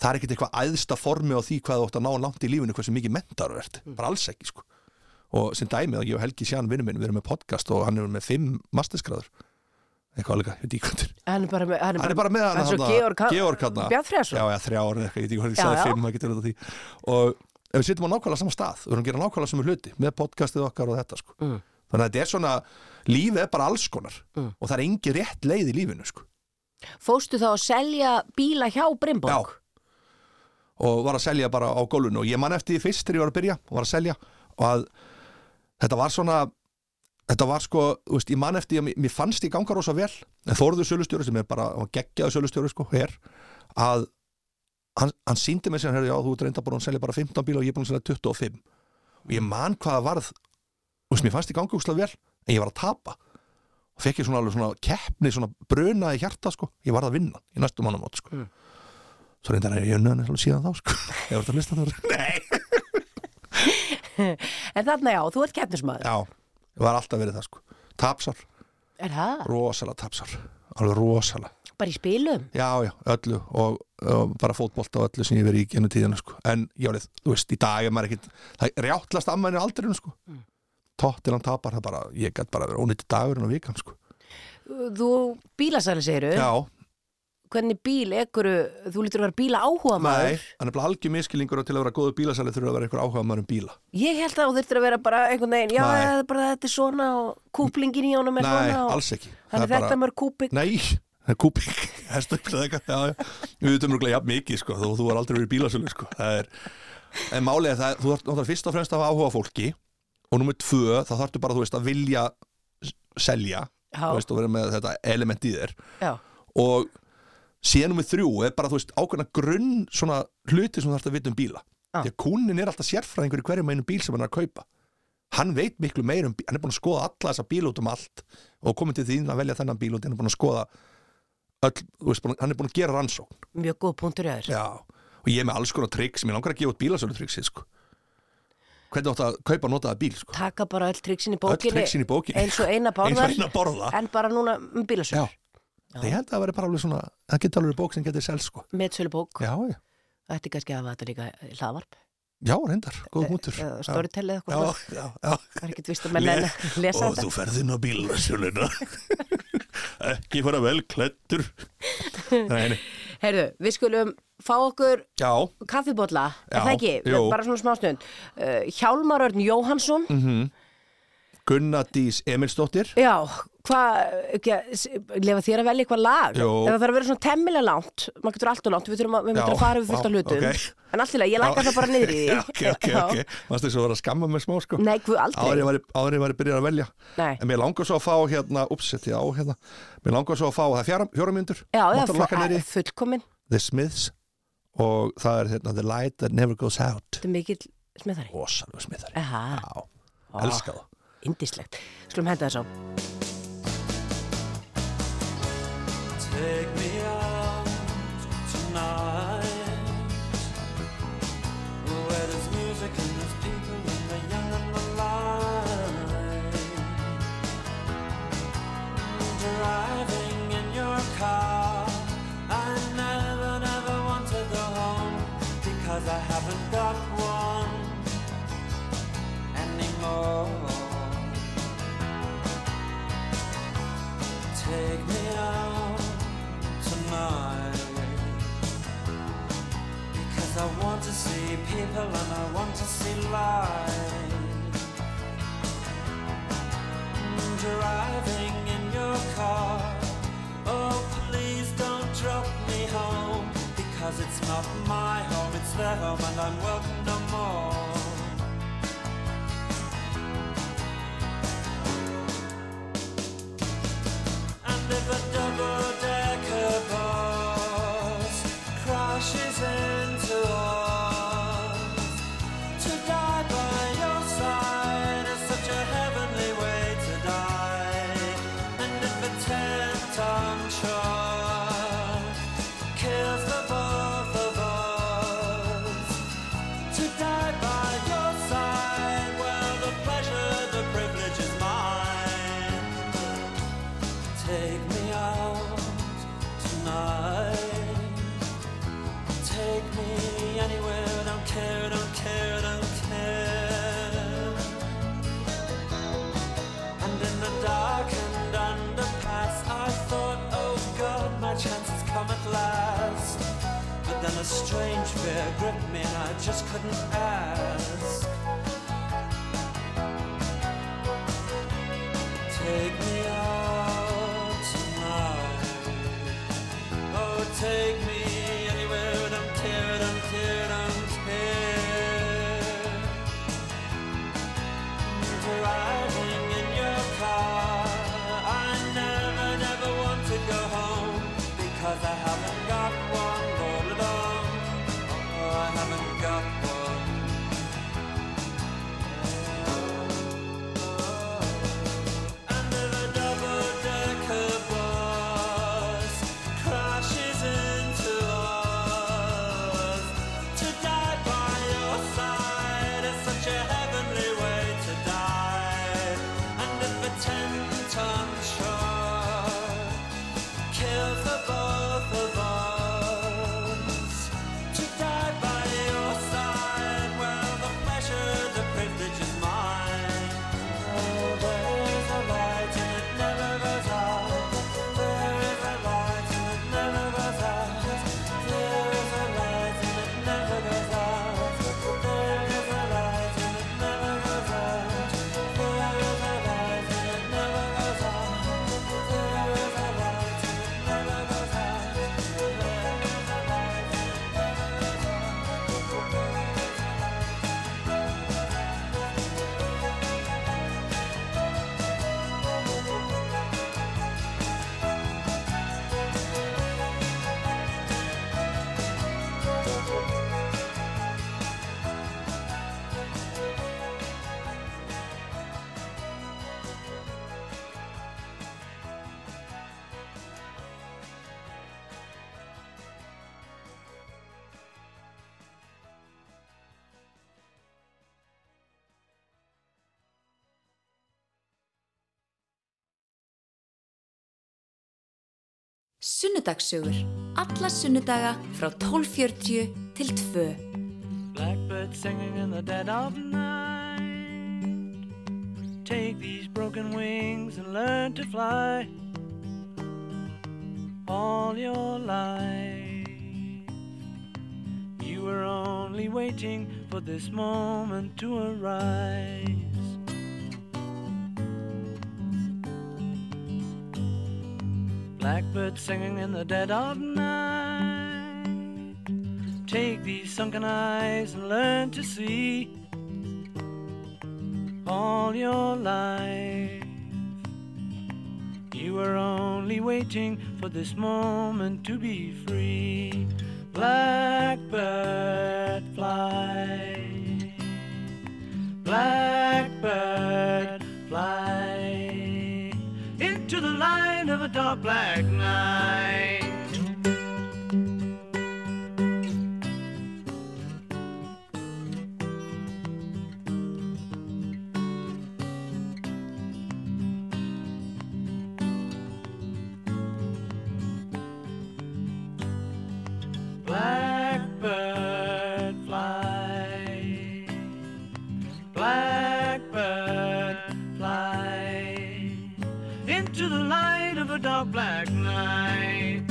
það er ekkert eitthvað æðsta formi á því hvað þú átt að ná langt í lífinu hversu mikið mentar þú ert, bara alls ekki sko. og sem dæmið og ég og Helgi Sján vinnum minn, við erum með podcast og hann er með fimm mastersgráður eitthvað alveg, ég veit ekki hvað þetta er
Hann er bara með Hann
hann er bara með hann
hann svo
þarna-
Georg,
Georg hann
Bjarnfreðsson.
já, já, þrjá árin eitthvað, ég veit ekki hvað ég
Já,
sagði
já.
fimm það getur þetta því og ef við sittum á nákvæmlega sama stað við erum að gera nákvæmlega sem hluti með podcastið okkar og þetta sko.
Mm.
þannig að þetta er svona lífið er bara alls konar
Mm.
og það er engi rétt leið í lífinu sko.
Fóstu þá að selja bíla hjá Brimborg?
og var að selja bara á gólfinu og ég man eftir því fyrst þegar ég var að byrja og var að selja og að þetta var svona þetta var sko, þú veist, ég man eftir því að mér- mér fannst ég ganga rosa vel en Þórður Sölustjóri sem er bara hann var geggjaður Sölustjóri sko, hér að hann, hann síndi mér sem hér, já, þú ert reynda búin að selja bara 15 bíla og ég er búin að selja 25 og ég man hvað það varð þú veist, mér fannst ég ganga úkslega vel en ég var að tapa og fekk ég svona alveg svona keppni, svona brunaði hjarta sko, ég varð að vinna í næstu mannamót sko svo reyndar að ég unna hann síðan þá sko. ég var þetta að lista það Nei.
En þarna já, þú ert keppnismæður
já, ég var alltaf verið það sko. tapsar,
Er það?
rosalega tapsar alveg rosalega,
Bara í spilum?
já já, öllu og, og bara fótbolt og öllu sem ég hef verið í gennum tíðina sko. en ég alveg, þú veist, í dag er maður ekkit það rjáttlast amma henni aldrei sko. mm. tóttil hann tapar, það bara ég gætt bara verið ónýtti dagurinn og vikan sko.
Þú bílasæli segiru
já,
Hvernig bíl ekkur Þú lítur að vera bíla áhuga
nei, hann er bara algjör miskilingur og til að vera góðu bílasæli þurfa að vera einhver áhuga maður um bíla
Ég held að þú þurftir að vera bara einhvern veginn Já,
Nei.
það er bara þetta er svona og kúplingin í honum er
nei,
svona og
alls ekki
hann
Það
er
bara-
þetta mörg kúping
Nei, það er kúping Hestöfl eða eitthvað já, já. Við veitum rúglega jafn mikið sko, þó þú var aldrei verið í bílasölu sko. Það er, En málið er það, þú þarf náttúrulega fyrst og fremst að hafa áhuga á fólki og nummer tvö, þá þarftu bara, þú veist, að vilja s- selja,
Já.
þú veist, og vera með þetta element í þér
Já,
og síðan nummer þrjú er bara, þú veist, ákveðna grunn svona hluti sem þú þarfst að vita um bíla
Já.
því að kúnin er alltaf sérfræðingur í hverjum einu bíl sem hann er að kaupa hann veit miklu meir um bíl, hann er búin að skoða alla þessa bíl út um allt og komið til þín að velja þennan bíl út hann er búin að skoða öll, þú veist, búin, hann er búin að gera rannsókn
mjög góð punktur í aður
Já. og ég er með alls konar trygg sem ég langar að gefa út bílasölu tryggsið sko. hvernig átt að kaupa notaða bíl sko.
Taka bara öll triksin í
öll
bókinni
tryggsin í bókinni
eins og eina
Eins og
borðar
eina borða.
en bara núna um
Já.
bílasölu
Það ég held að það væri bara alveg svona það geti alveg verið bók sem getið sel sko.
Metsölu bók,
já, já.
ætti kannski að hafa þetta líka í hlaðvarp
Já, reyndar, góð mútur
eða storytellið
Já,
eitthvað
já, já
Það er ekkert vist að menn enn að lesa
Og
þetta
þú ferð inn á bílasöluna Ekki fara vel klettur Nei, nei.
Heyrðu, við skulum fá okkur
Já,
kaffibólla, er
Já,
það ekki?
jú. Mhm.
Bara svona smá stund uh, Hjálmar Örn Jóhansson
Gunna Dís Emilsdóttir
Já, hvað, ekki að s- lefa þér að velja eitthvað lag
Jú.
ef það þarf að vera svona temmilega langt maður getur allt og langt, við þurfum að, við
Já,
þurfum að fara við fullt af
vá,
hlutum
ok.
en allt í lagi, ég læka það bara niður í því
ok, ok,
Já.
ok, varstu þess að vera að skamma mig smá sko
Nei, guð, aldrei.
Áður en ég væri- áður en ég var að byrja að velja
Nei.
en mér langar svo að fá hérna, ups, setja á hérna mér langar svo að fá, það er fjóra, fjóra myndur
Já, það er fullkomin
The Smiths og það er hérna, The Light That Never Goes Out
þetta er mikill smiðari
rosalega smithari
Aha,
Já, elska það
indislegt Skulum henda þess á
Take me out tonight Where there's music and there's people and the young and the light Driving in your car I never, never want to go home Because I haven't got one anymore Take me out tonight Because I want to see people and I want to see light Driving in your car Oh please don't drop me home Because it's not my home, it's their home and I'm welcome no more And if a double-decker bus crashes into us, to die by your side is such a heavenly way to die. And if a ten-ton truck kills the both of us, to die by your side, well the pleasure, the privilege is mine. Take me out tonight. Take me anywhere. Don't care, don't care, don't care. And in the darkened underpass, I thought, oh God, my chance has come at last. But then a strange fear gripped me, and I just couldn't ask. Take me out tonight. Oh, take me anywhere. I don't care, I don't care, I don't care. Driving in your car. I never, never want to go home because I haven't got one all along. Oh, I haven't got one. And if a double-decker bus crashes into us, to die by your side is such a heavenly way to die. And if a ten-ton truck kills the both of us, to die by your side, well the pleasure, the privilege is mine. Oh,
Sunnudagssögur. Alla sunnudaga frá 12.40 til 2.
Blackbird singing in the dead of night. Take these broken wings and learn to fly all your life. You were only waiting for this moment to arise.
Blackbird singing in the dead of night. Take these sunken eyes and learn to see all your life. You were only waiting for this moment to be free. Blackbird fly. Blackbird fly. Into the light of a dark black night. Blackbird fly. Blackbird fly. Into the light of a dark black night.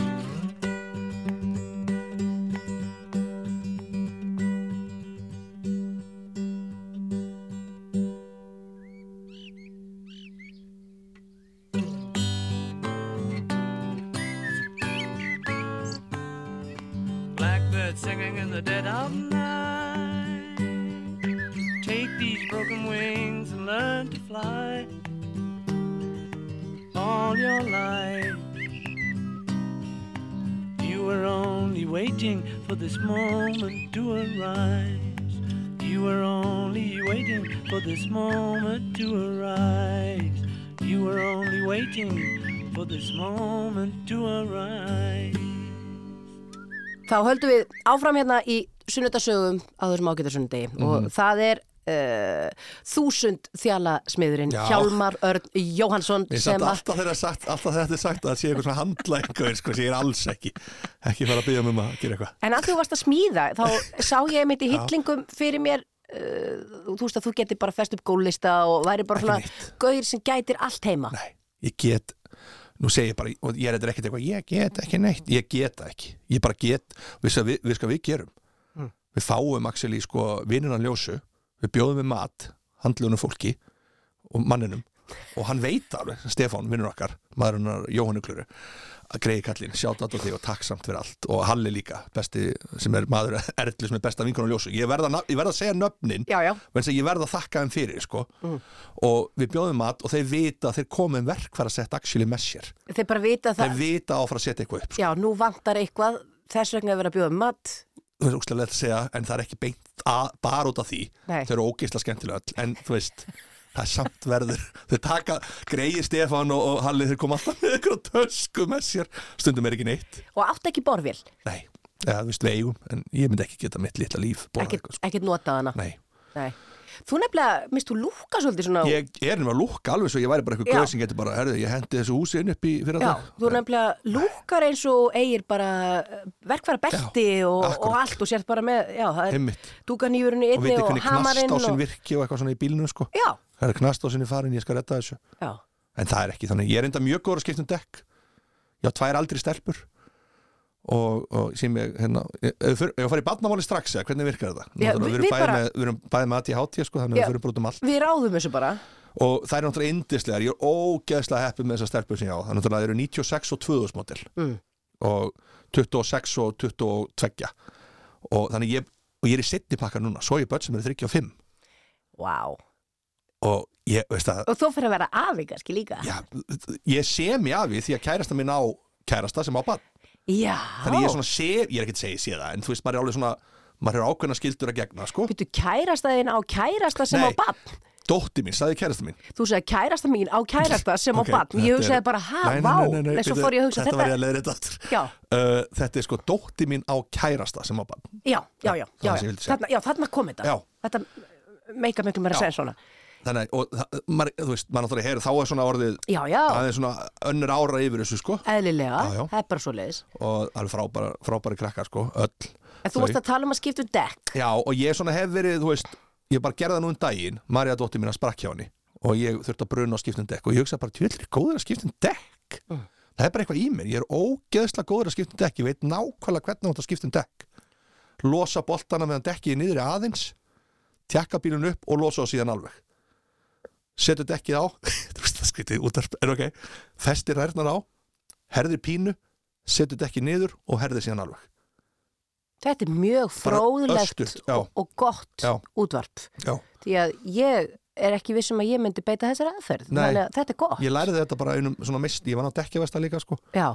Blackbird singing in the dead of night. Take these broken wings and learn to fly all your life. You were only waiting for this moment to arise. You were only waiting for this moment to arise. You were only waiting for this moment to arise.
Þá höldum við áfram hérna í sunnudasögum á þessum ágæta sunnudegi
Mhm.
og það er uh, þúsund þjala smiðurinn
Já.
Hjálmar Örn Jóhansson
Ég
sem
satt
að
alltaf þegar sagt, alltaf þegar þetta er sagt að það sé eitthvað svona handla einhver, sko, sem ég er alls ekki ekki fara að byggja um að gera eitthvað
En að þú varst að smíða, þá sá ég einmitt í hillingum fyrir mér uh, þú veist að þú getur bara fest upp gólista og væri bara
Ekki
svona
neitt.
gauðir sem gætir allt heima
Nei, ég get Nú segi ég bara, og ég er þetta ekkert eitthvað Ég get ekki neitt, ég get það ekki Ég bara get, við sko við, við, sko, við gerum Við fáum Axel í sko vinnunan ljósu Við bjóðum við mat Handlunum fólki og manninum Og hann veit það alveg, Stefán, vinnur okkar Maðurinnar Jóhannu Kluru að greiði kallin, sjátt alltaf því og takksamt fyrir allt og Halli líka, besti sem er maður Erlu sem er besta vinkunum ljósu ég verða, ég verða að segja nöfnin
Já, já.
Vegna þess að ég verð að þakka þeim fyrir sko.
Mm.
og við bjóðum mat og þeir vita að þeir komið verkfæra sett actually með sér
Þeir bara vita
þeir
það,
vita að áfara að setja eitthvað upp sko.
já, nú vantar eitthvað þess vegna er verið að bjóða um mat
það er úkslega leitt að segja en það er ekki beint að, bara út af því
Nei.
þau eru ógeisla skemmtilega öll en þú veist það er samt verður þau taka greiði Stefán og, og Halli þeir koma alltaf með eitthvað tösku með sér stundum er ekki neitt
og átt ekki borvél,
nei eða þú veist við eigum en ég myndi ekki geta mitt litla líf borðað
ekkert
eitthvað, sko.
ekkert notað hana
nei
Nei. Þú nefnilega, minnst þú lúka svolítið svona á-
ég er nefnilega að lúkka alveg svo ég væri bara eitthvað
Já.
gauð sem getur bara herðu ég hendi þessu húsi inn upp í fyrir
Já, þú nefnilega lúkar eins og eigir bara verkfæra belti
Já,
og, og
akkurat.
allt og sért bara með, já, það er
Einmitt.
dúkanýfurinn í
og
einni
veitir
og,
hvernig
hamarinn
knast á sinn
og,
virki og eitthvað svona í bílnum sko.
já,
það er knast á sinni farin, ég skal redda þessu
já,
en það er ekki þannig, ég er enda mjög góður að skipta um dekk ég á tvær aldrei stelpur og, og sem ég hérna, ef við förum- ef ég farið í barnamáli strax eða hvernig virkar þetta?
Já,
Náttúrulega,
við-
erum
við
bæði
bara-
með, við erum bæði með aðtíð hátíð sko, þannig
Já.
að við fyrir brotum allt
við ráðum þessu bara
og það er náttúrulega indislegar, ég er ógeðslega heppið með þessar stelpur sem ég á, það er náttúrulega það eru 96 og 2000 model
Mm.
og 26 og 22 og þannig ég, og ég er í setni pakkar núna, svo ég börn sem eru 35
Vá,
og ég, veist það,
og þú fyrir að vera afi kannski líka
já, ég sé mér af því því að kærasta minn á kærasta sem á bann
Já,
þannig ég er svona sé, ég er ekkert segið sé það en þú veist, maður er alveg svona, maður er ákveðna skildur að gegna, sko,
Býttu kærastæðin á kærasta sem
Nei.
á bann
dótti mín, sagði kærasta mín
Þú segir kærasta mín á kærasta sem á
Ok,
bann Ég
þetta
hugsaði
er-
bara, ha,
Nei, nei,
vá
nei, nei, nei,
Nei, svo
bíddu,
fór ég að hugsa
þetta
þetta,
var ég að leiðrétta aftur.
Já.
Uh, þetta er sko dótti mín á kærasta sem á bann
Já, já, já,
E
já,
það sem ég
já.
vildi segja.
Þarna, já, þarna kom þetta
Já.
Þetta meika miklu meira að
Já.
segja svona
þannig, að- og það- maður, þú veist, maður náttúrulega heyr þá er svona orðið
Já, já,
aðeins svona önnur ára yfir þessu, sko
eðlilega,
Já, já.
það er bara svo leiðis
og alveg frábæra, frábæra krakkar, sko, öll
En þú
Þau.
varst að tala um að skipta um dekk
Já, og ég svona hef verið, þú veist, ég bara gerði það nú um daginn, Marja dóttir mín að sprakk hjá henni og ég þurfti að bruna á skiptum dekk og ég hugsaði bara, tvillir, góður að skiptum dekk það er bara eitthvað í mér, ég er ógeðslega góður að skiptum dekk, ég veit nákvæmlega hvernig hún það skiptum um dekk losa boltana meðan dekkið er niður í aðeins tjekka bílun upp og losa það síðan alveg setur dekkið á þú veist það skrítið útarp, er ok festir rærnar á, herðir pínu, setur þetta ekki niður og herðir síðan alveg
Þetta er mjög
Bara
fróðlegt
örstutt, já.
og, og gott
Já.
útvarp.
Já.
Því að ég er ekki viss um að ég myndi beita þessar aðferð.
Nei.
Þannig að þetta er gott.
Ég læriði þetta bara einum svona mist, ég var á dekkjavesta líka sko
Já,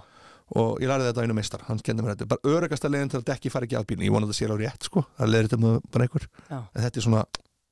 og ég læriði þetta á einum mistar, hann kendi mér þetta bara örugasta leiðin til að dekki fari ekki að bínu, ég vona að þetta sér á rétt sko, það leiðir þetta með bara einhver
Já.
en þetta er svona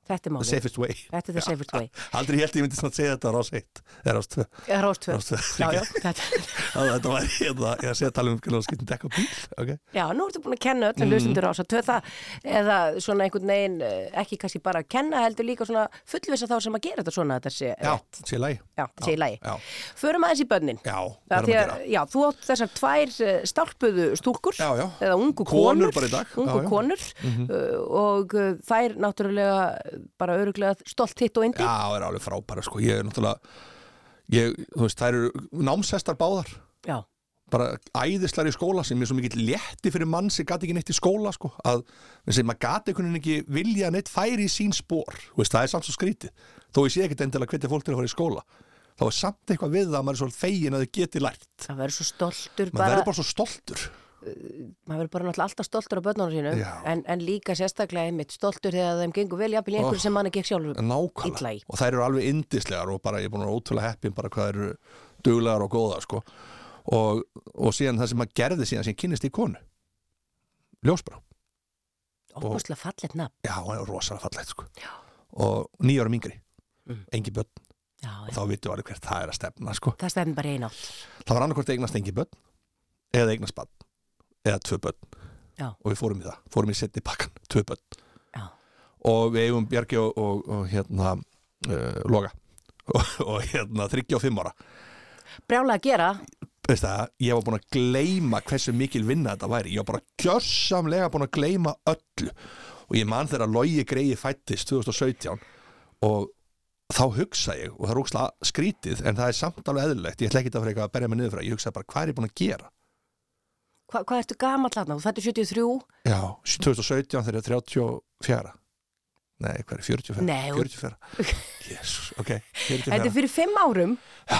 þetta er
the
málið.
safest way
Þetta er the safest way.
Aldrei held ég myndi svona að segja þetta á rás 1 eða rás 2
Rást tvö.
Rás tvö,
Já, já,
fyrirgefðu.
þetta.
Þannig að þetta var hérna, ég að segja að tala um hvernig það skiptum dekka á bíl okay.
já, nú ertu búin að kenna öllum mm. hlustundur rása tvö það eða svona einhvern veginn eh, ekki kannski bara að kenna heldur líka svona fullvisa þá sem að gera þetta svona að þetta sé
Já,
rétt.
sé lægi
Já, þetta sé í lagi.
Já,
Förum aðeins í bönnin.
já,
Já,
verðum
því
að
að,
gera.
já, þú átt þessar tvær eh, stálpuðu stúlkur
Já, já.
eða ungu konur,
Konur bara í dag, já,
ungu
já. Mhm.
konur uh, og uh, þær náttúrulega uh, bara öruglega stolt hitt og indi
Já, það er alveg frábæra sko, ég er náttúrulega ég, þú veist, það eru námshestar báðar
Já,
bara æðislar í skóla sem er svo mikill létti fyrir mann sem gati ekki neitt í skóla sko, að þessi, maður gati einhvern veginn ekki vilja að neitt færi í sín spór þú veist, það er samt svo skrítið þó ég sé ekkert endilega hvernig fólk til að fara í skóla þá er samt eitthvað við það að maður er svo fegin að þau geti lært
það verður svo stoltur
maður
bara,
verður bara svo stoltur
maður verður bara náttúrulega alltaf stoltur á börnunum sínum
Já.
en, en líka sérstaklega einmitt stoltur þegar þeim gengur vel jafnvel í einhverju
Oh.
sem mann ekki ekki sjálfur Illa
nákvæmlega
í.
og þær eru alveg indislegar og bara ég er búin að vera ótrúlega heppin bara hvað þær eru duglegar og góðar sko. og, og síðan það sem maður gerði síðan sem ég kynnist í konu ljósbrá
Óbúslega fallet nafn
Já, hann er rosalega fallegt sko. og níu árum yngri
Mm.
engi börn,
já,
og
já.
þá vitum við alveg hvert það er að stefna sko.
Það stefnir bara í einn átt
það var annarkvort eignast engi börn eða eignast barn, eða tvö börn
Já.
og við fórum í það, fórum í setni pakkan tvö börn
Já.
og við eigum Bjarki og, og, og hérna uh, Loga og, og hérna 35 ára
Brjálega að gera
Veist það, ég var búin að gleyma hversu mikil vinna þetta væri ég var bara gjörsamlega búin að gleyma öllu og ég man þegar Logi Greiði fættist 2017 og þá hugsa ég og það er ógstlega skrítið en það er samt alveg eðlilegt ég ætla ekki að fyrir eitthvað að berja mig niður fyrir ég hugsa bara hvað er ég búin að gera
Hva, Hvað ertu gamall þarna? Þú fættu 73
já, 2017 þegar ég er 34 nei, hvað er 44
Nei, þú-
44, jésus, ok
Þetta
44,
er fyrir 5 árum
já,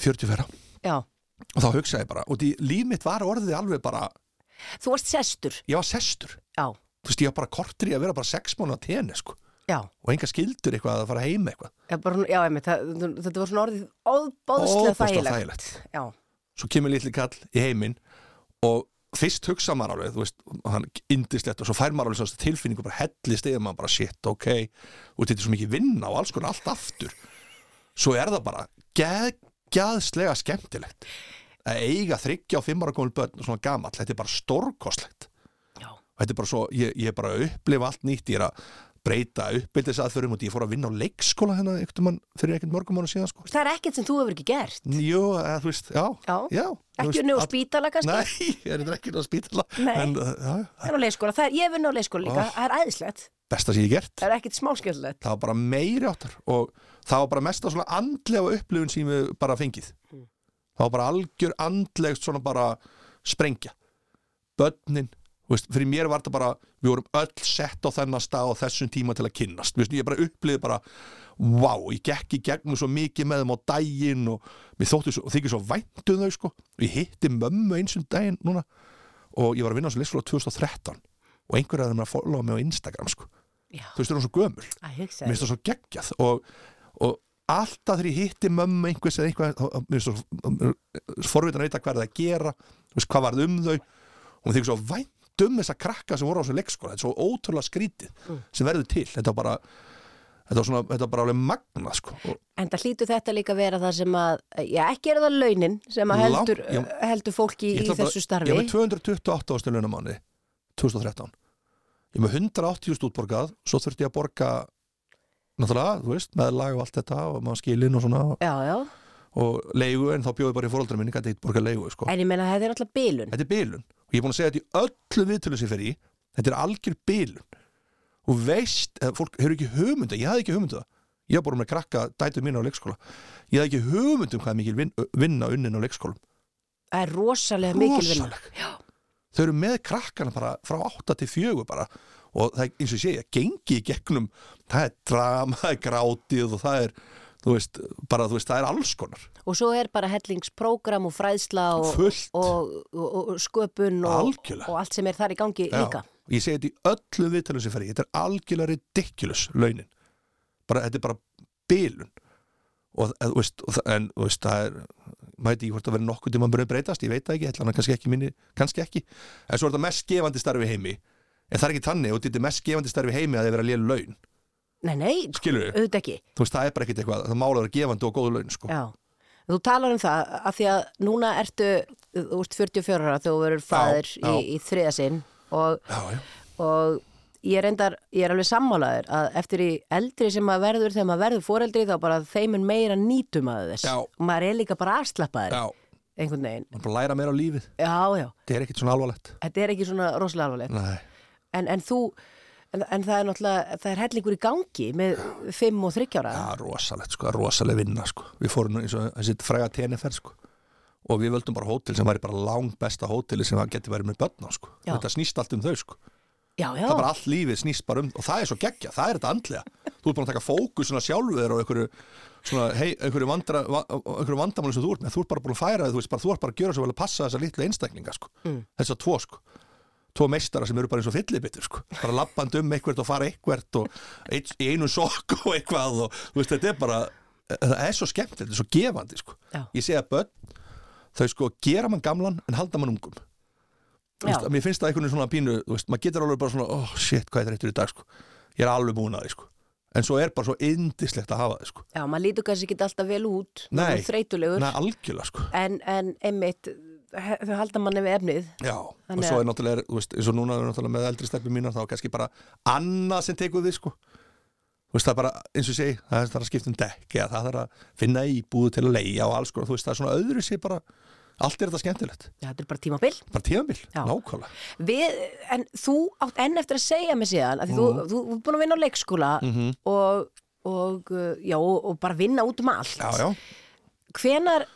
44
Já,
og þá hugsa ég bara, og því líf mitt var orðið alveg bara,
þú varst sestur
ég var sestur
Já,
þú veist, ég var bara kortur í að vera bara sex mánu á tenni, sko,
já
og enga skildur eitthvað að fara heim eitthvað,
Já, bara, svona- já einmitt, það, þetta var svona orðið óbóðslega
Ofboðslega
þægilegt.
þægilegt.
Já,
svo kemur litli kall í heiminn og fyrst hugsa maður alveg, þú veist, hann indislegt og svo fær maður alveg svona tilfinningu bara hellist eða maður bara shit, ok, og þetta er svo mikið vinna og alls konar allt aftur svo er það bara geðgjaðslega skemmtilegt að eiga þryggja og fimmara komul börn og svona gamall, þetta er bara stórkostlegt
já,
þetta er bara svo, ég, ég er bara að upplifa allt nýtt, ég er að breyta uppbyldisaðförum og því ég fór að vinna á leikskóla hérna einhvern mann fyrir ekkert mörgum mánu síðan sko.
það er ekkert sem þú hefur ekki gert.
Jú, eða, þú veist, já,
Já.
já þú
Ekki
veist,
unni á
all-
spítala kannski,
Nei, ég er ekki unni á spítala
Nei.
en, uh, já, já,
en á leikskóla. Það er, ég hef unni á leikskóla líka,
Oh.
það er æðislegt.
besta sem ég hef gert
Það er ekkert smáskjöldlegt.
það var bara meiri áttar og það var bara mesta svona andlega upplifun sem ég hef bara fengið það var bara algjör andlegt svona bara sprengja börnin, þú veist, fyrir mér var þetta bara við vorum öll sett á þennan stað og þessum tíma til að kynnast, Þú veist, ég bara upplifði bara, wow, ég gekk í gegnum svo mikið með þeim á daginn og mér þótti svo, þykir svo væntum þau sko og ég hitti mömmu einsum daginn núna og ég var að vinna á þessu leyskóla 2013 og einhverja þeim er að followa mig á Instagram sko,
Já,
þú veist, það er hún svo gömul
að hugsa
mér
þér.
finnst það svo geggjað og, og alltaf þegar ég hitti mömmu einhvers eða einhver, þá- þá- mér finnst það forvitin að vita hvað er það að gera þú veist, hvað varð um þau og mér þykir svo vænt um þessa krakka sem voru á þessu leikskóla þetta er svo ótrúlega skrítið
Mm.
sem verður til þetta var bara þetta var, svona, þetta var bara alveg magna sko. og,
En það hlýtu þetta líka vera það sem að, já, ekki er það launin sem að
Langt-
heldur,
já.
heldur fólki í
ætla bara-
þessu starfi.
ég var með 228 ástu launamáni 2013 ég var með 180 stútt borgað svo þurfti ég að borga náttúrulega, þú veist, með lag og allt þetta og maður skilin og svona
Já, já,
og leigu en þá bjóði bara í fóröldra minni gæti eitt borga leigu sko.
en ég meina þetta er alltaf bilun.
þetta er bilun og ég er búin að segja þetta í öllu viðtölu sem ég fer í þetta er algjör bilun og veist, eða fólk hefur ekki hugmynda ég hafði ekki hugmynda ég hafði bara með krakka dætu mín á leikskóla ég hafði ekki hugmynd um hvað er mikil vin, vinna unnin á leikskólum
Það er rosalega mikil vinna.
Rosaleg. þau eru með krakkana bara frá 8 til 4 bara og það er eins og ég segja, gengi í gegnum það er drama, það er grátið og það er þú veist, bara þú veist, það er alls konar
Og svo er bara hellingsprógram og fræðsla og,
Fullt.
og, og, og sköpun og,
Algjörlega.
og allt sem er þar í gangi
Já.
líka.
Og ég segi þetta í öllum viðtölum sem fer í þetta er algjörlega ridiculous launin bara, þetta er bara bilun og, eð, veist, og það- en þú veist, það er maður veit ekki hvort það verður nokkuð tíma að breytast, ég veit það ekki, ætla hann kannski ekki minni, kannski ekki en svo er þetta mest gefandi starfi í heimi en það er ekki tannig og þetta er mest gefandi starfi í heimi að það er verið að lélu laun,
Nei, nei, sko,
skilur við
auðvitað ekki.
þú veist, það er bara ekkit eitthvað, það mála að vera gefandi og góðu laun sko.
Já. Þú talar um það að því að núna ertu, þú ert 44 ára þegar þú verður fæðir í,
já.
í þriða sinn og,
já, já,
og ég, reyndar, ég er alveg sammálaður að eftir í eldri sem maður verður þegar maður verður foreldri þá bara þeim er meira nýtum að þess
Já.
og maður er líka bara afslappaður
já,
einhvern veginn.
maður bara læra meira á lífið
Já, já,
þetta er ekkit svona alvarlegt
þetta er ekki svona rosalega alvarlegt.
Nei.
En, en þú, en, en það er náttúrulega, það er hellingur í gangi með 5 og 3 ára.
Já, rosalegt sko, rosaleg vinna sko. Við fórum nú eins og þessi fræga TNFR sko. og við völdum bara hótel sem væri bara langt besta hóteli sem það geti verið með börn á sko.
Já.
Þetta snýst allt um þau sko.
Já, já,
Það er bara allt lífið snýst bara um og það er svo geggja, það er þetta andlega. Þú ert búin að taka fókus svona sjálfur þér og einhverju, svona, hei, einhverju, vandra, va- einhverju vandamáli sem þú ert með. Þú ert bara búin að færa þig, þú veist bara, þú ert bara að gjöra svo vel að passa þessa litlu einstaklinga sko. Mm. Þessa tvo sko. Tvo meistara sem eru bara eins og fyllibittir sko. Bara lappandi um eitthvert og fara eitthvert og eitt, í einu sokk og eitthvað og þú veist, þetta er bara, það er svo skemmt, þetta er svo gefandi sko.
Já.
Ég segi að börn, þau sko gera mann gamlan en halda mann ungum. Þú
já,
veist, mér finnst það einhvern veginn svona pínu þú veist, maður getur alveg bara svona, oh shit, hvað er þetta í dag sko. ég er alveg búin að því sko. en svo er bara svo yndislegt að hafa því sko.
já, maður lítur kannski ekki alltaf vel út,
Nei.
maður er þreytulegur,
Nei, algjörlega sko.
en, en einmitt, he- þau halda manni við efnið.
Já, og
Þannig
svo
að-
er náttúrulega, þú veist, eins og núna er náttúrulega með eldri stefni mínar, þá er kannski bara annað sem tekur því, sko. Þú veist, það er bara, eins og ég segi, það þarf að skipta um dekk eða það þarf að finna íbúðu til að leigja og alls konar, þú veist, það er svona öðru sér bara allt er þetta skemmtilegt,
Já, þetta er bara tímabil.
bara tíðanbíl,
Já.
nákvæmlega
Við, en þú átt enn eftir að segja mér síðan, að mm.
Mhm.
þú, þú, þú er búin að vinna á leikskóla og, og, uh, já, og, og bara vinna út um allt.
Já, já,
hvenar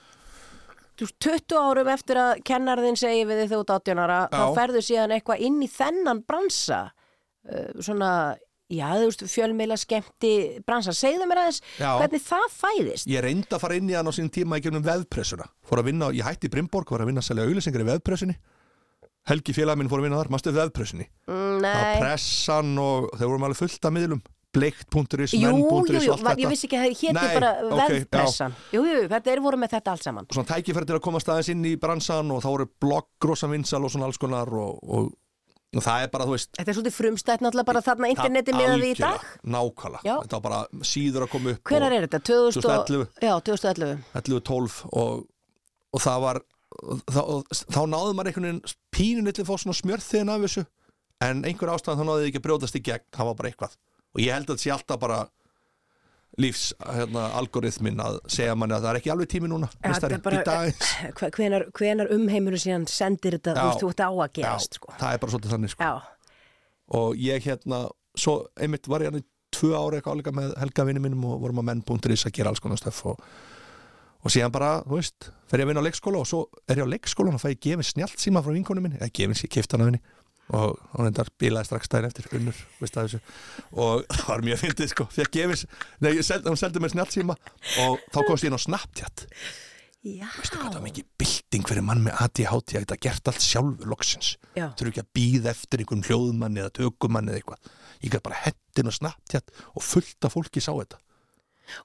þú veist, 20 árum eftir að kennarðin segir við þig þú út 18 ára
Já.
þá ferðu síðan eitthvað inn í þennan bransa uh, svona já þú veist fjölmiðla skemmti bransa, segðu mér aðeins
Já.
hvernig það fæðist
Ég reyndi að fara inn í hann á sín tíma í gegnum veðpressuna. Fór að vinna, ég hætti í Brimborg, var að vinna að selja auglýsingar í veðpressunni. Helgi félag minn fór að vinna þar, mástu veðpressunni.
Mm,
Það var
Nei,
pressan og þeir vorum alveg fullt af miðlum. Bleikt.is,
jú,
menn.is
jú,
og allt
jú,
þetta.
var, ég vissi ekki að það héti
Nei,
bara
ok,
veðpressan Jú, jú, þetta er voru með þetta allt saman
Svona tækifæri til að komast aðeins inn í bransan og þá voru blogg, grossa vinsal og svona alls konar og, og, og það er bara, þú veist,
Þetta er svolítið frumstætt náttúrulega bara þarna interneti
það-
með því í
algjörlega,
dag
Nákvæmlega.
Já.
Þetta var bara síður að koma upp.
Hvenar
og-
er þetta? 2000 og-
2011.
Já, 2011
11-12 og, og það var og, þá, og, þá náði maður einhvern veginn pínun eitthvað fór svona smjörþiðin af þessu en einhver ástæðan þá náði þið ekki að brjótast í gegn það var bara eitthvað og ég held að þetta sé alltaf bara lífs hérna, algoritmin að segja manni að það er ekki alveg tími núna
þetta
meistari,
er bara-
í dag eins.
Hve- hvenar, hvenar umheimurinn síðan sendir þetta
Já.
þú veist, þú ert á að gerast
Já,
sko.
það er bara svolítið þannig sko.
Já,
og ég hérna, svo einmitt var ég hann í tvö ára eitthvað álíka með helgavinni mínum og vorum að menn.is að gera alls konar stöf og, og síðan bara, þú veist fer ég að vinna á leikskóla og svo er ég á leikskólan og fæ ég gefin snjált síma frá vinkonu minni eða gefin sér kiftan af henni og hún endar bílaði strax daginn eftir unnur, veist að þessu og það var mjög fyndið sko því að gefis, nei, ég seld, hún seldi mér snjált síma og þá komst ég inn á Snapchat
já.
veistu hvað það var mikið bylting fyrir mann með ADHD að geta gert allt sjálfur loksins
Já.
þurfi ekki að býða eftir einhverjum hljóðmanni eða tökumanni eða eitthvað ég gæti bara hendin og snapptjátt og fullt af fólki sá þetta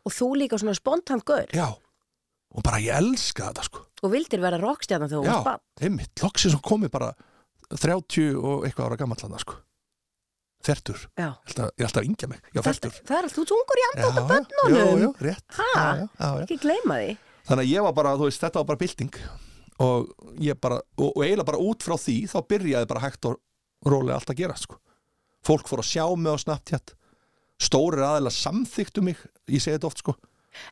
og þú líka svona spontant gaur
já, og bara ég elska þetta sko
og vildir vera rockstjarnan þegar þú
já,
varst bann
einmitt, loksins hún komið bara 30 og eitthvað ára gamall hann sko fertur,
Já.
ég er alltaf- ég er alltaf að yngja mig já,
Það,
fertur
það er allt, þú tungur í
Já,
andótt á
já, já, já,
bönnunum
rétt
Ha?
já, já, já, já.
ekki gleyma því
þannig að ég var bara, þú veist, þetta var bara bylting og ég bara og, og eiginlega bara út frá því, þá byrjaði bara hægt og rólega allt að gera sko. fólk fór að sjá mig á Snapchat stórir aðeila samþyktu mig ég segi þetta oft, sko,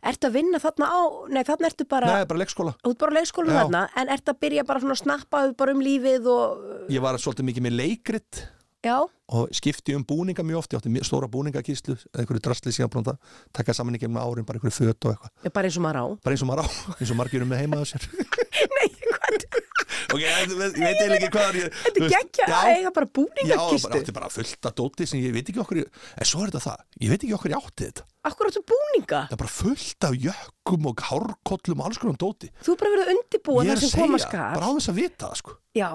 Ertu að vinna þarna á, nei þarna ertu bara
neða bara leikskóla
þú ert bara á leikskólu
Já.
þarna en ertu að byrja bara svona að snappa upp bara um lífið og,
ég var svolítið mikið með leikrit
já,
og skipti um búninga mjög oft, ég átti mjög stóra búningakíslu eða einhverju drastli síðan búin að taka saman í gegnum árin, bara einhverju föt og eitthvað
bara eins og maður á
bara eins og maður á, eins og margir um með heimaðu sér
Nei, hvað?
ok, ég veit ég veit eiginlega ekki hvað er ég
Þetta
þú
er
veist,
geggja
já,
að eiga bara
Já, bara,
búningakistu
þetta er bara fullt af dóti sem ég veit ekki okkur ég- en svo er þetta það, ég veit ekki okkur ég átti þetta
Akkur áttu búninga?
það er bara fullt af jökkum og hárkollum og alls konar dóti
Þú er bara verið að undirbúa
ég
þar
er að
sem koma
segja,
skar
bara á þess að vita það sko
Já,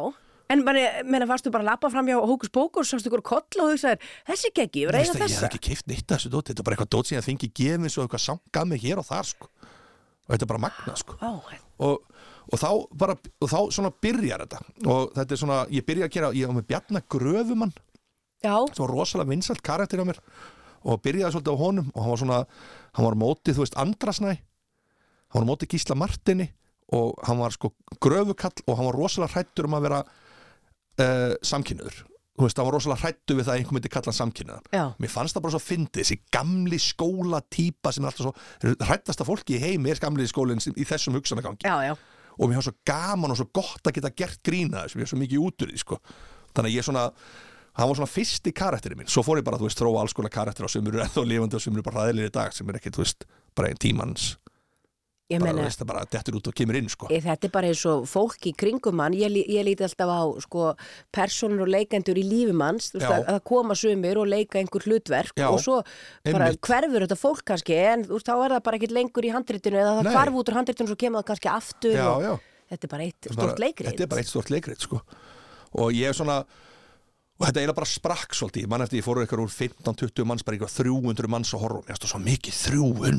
en manni, menna varstu bara að lappa fram hjá hókus bókur, sástu ykkur koll og hugsaðir, þessi geggi, ég
Ég
verið
veist
að eiga
að ég hef
þessa
ekki keift neitt af þessu dóti þetta er bara eitthvað dót sem ég fengi gefin svo eitthvað samt gaf mig hér og þar sko. og þetta er bara magna sko.
Vá,
og, og þá bara og þá svona byrjar þetta og þetta er svona, ég byrja að gera ég var með Bjarna Gröfumann
já,
sem var rosalega vinsalt karakter á mér og byrjaði svolítið á honum og hann var svona, hann var á móti, þú veist, Andrasnæ hann var á móti Gísla Martini og hann var sko gröfukall og hann var rosalega hrættur um að vera uh, samkynniður þú veist, hann var rosalega hrættur við það að einhver myndi kalla hann samkynniðan
já,
Mér fannst það bara svo fyndið, þessi gamli skóla típa sem er alltaf svo hrættasta fólki í heimi er gamli skólinn sem- í þessum hugsanagangi
já, já.
og mér fannst svo gaman og svo gott að geta gert grína þessu, mér er svo mikið út úr því sko. þannig að ég svona hann var svona fyrsti karakterinn minn, svo fór ég bara þú veist þróa alls konar karakter og sem eru ennþá lifandi og sem eru bara hræðilegir í dag sem er ekki, þú veist, bara einn tímans
Ég
bara, þú
menna,
veist, það bara dettur út og kemur inn sko.
Eh, Þetta er bara eins og fólk í kringum mann, ég, lí- ég líti alltaf á sko, personur og leikendur í lífi manns, þú veist,
Já.
að, að koma sumir og leika einhver hlutverk
Já,
og svo bara
einmitt.
hverfur þetta fólk kannski en þú veist, þá er það bara ekkert lengur í handritinu eða það
Nei.
hvarf út úr handritinu og svo kemur það kannski aftur
Já,
og
já.
þetta er bara eitt
Bara-
stort leikrið.
Þetta er bara eitt stort leikrið sko. og ég er svona og þetta eiginlega bara sprakk svolítið mann eftir ég fóru eitthvað úr 15-20 manns bara eitthvað 300 manns að horfa mér finnst það svo mikið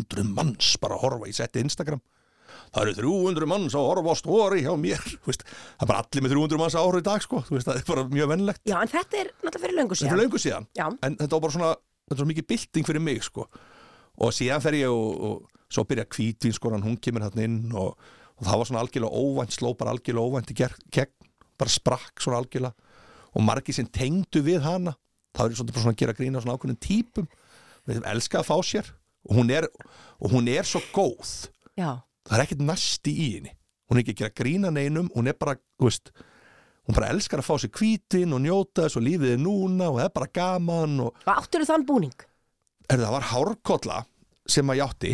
300 manns bara að horfa ég setti Instagram það eru 300 manns að horfa á stóri hjá mér Þú veist, það er bara allir með 300 manns að horfa í dag sko. Þú veist, það er bara mjög vennlegt
Já, en þetta er náttúrulega fyrir löngu
þetta
síðan.
er löngu síðan
Já.
en þetta var bara svona, þetta var svona mikið bylting fyrir mig sko. og síðan fer ég og, og svo byrja kvítvinskoran, hún kemur hann inn og, og það var svona algjörlega óvænt sló bara algjörlega óvænt í ger- gegn bara sprakk svona algjörlega og margir sem tengdu við hana það er svona, bara svona að gera grína svona ákveðnum típum við þeim elska að fá sér og hún er, og hún er svo góð
Já,
það er ekkert næsti í henni hún er ekki að gera grína neinum hún er bara, þú veist hún bara elskar að fá sér hvítin og njóta þess og lífið er núna og það er bara gaman og
og áttur þann búning?
er það var hárkolla sem að ég átti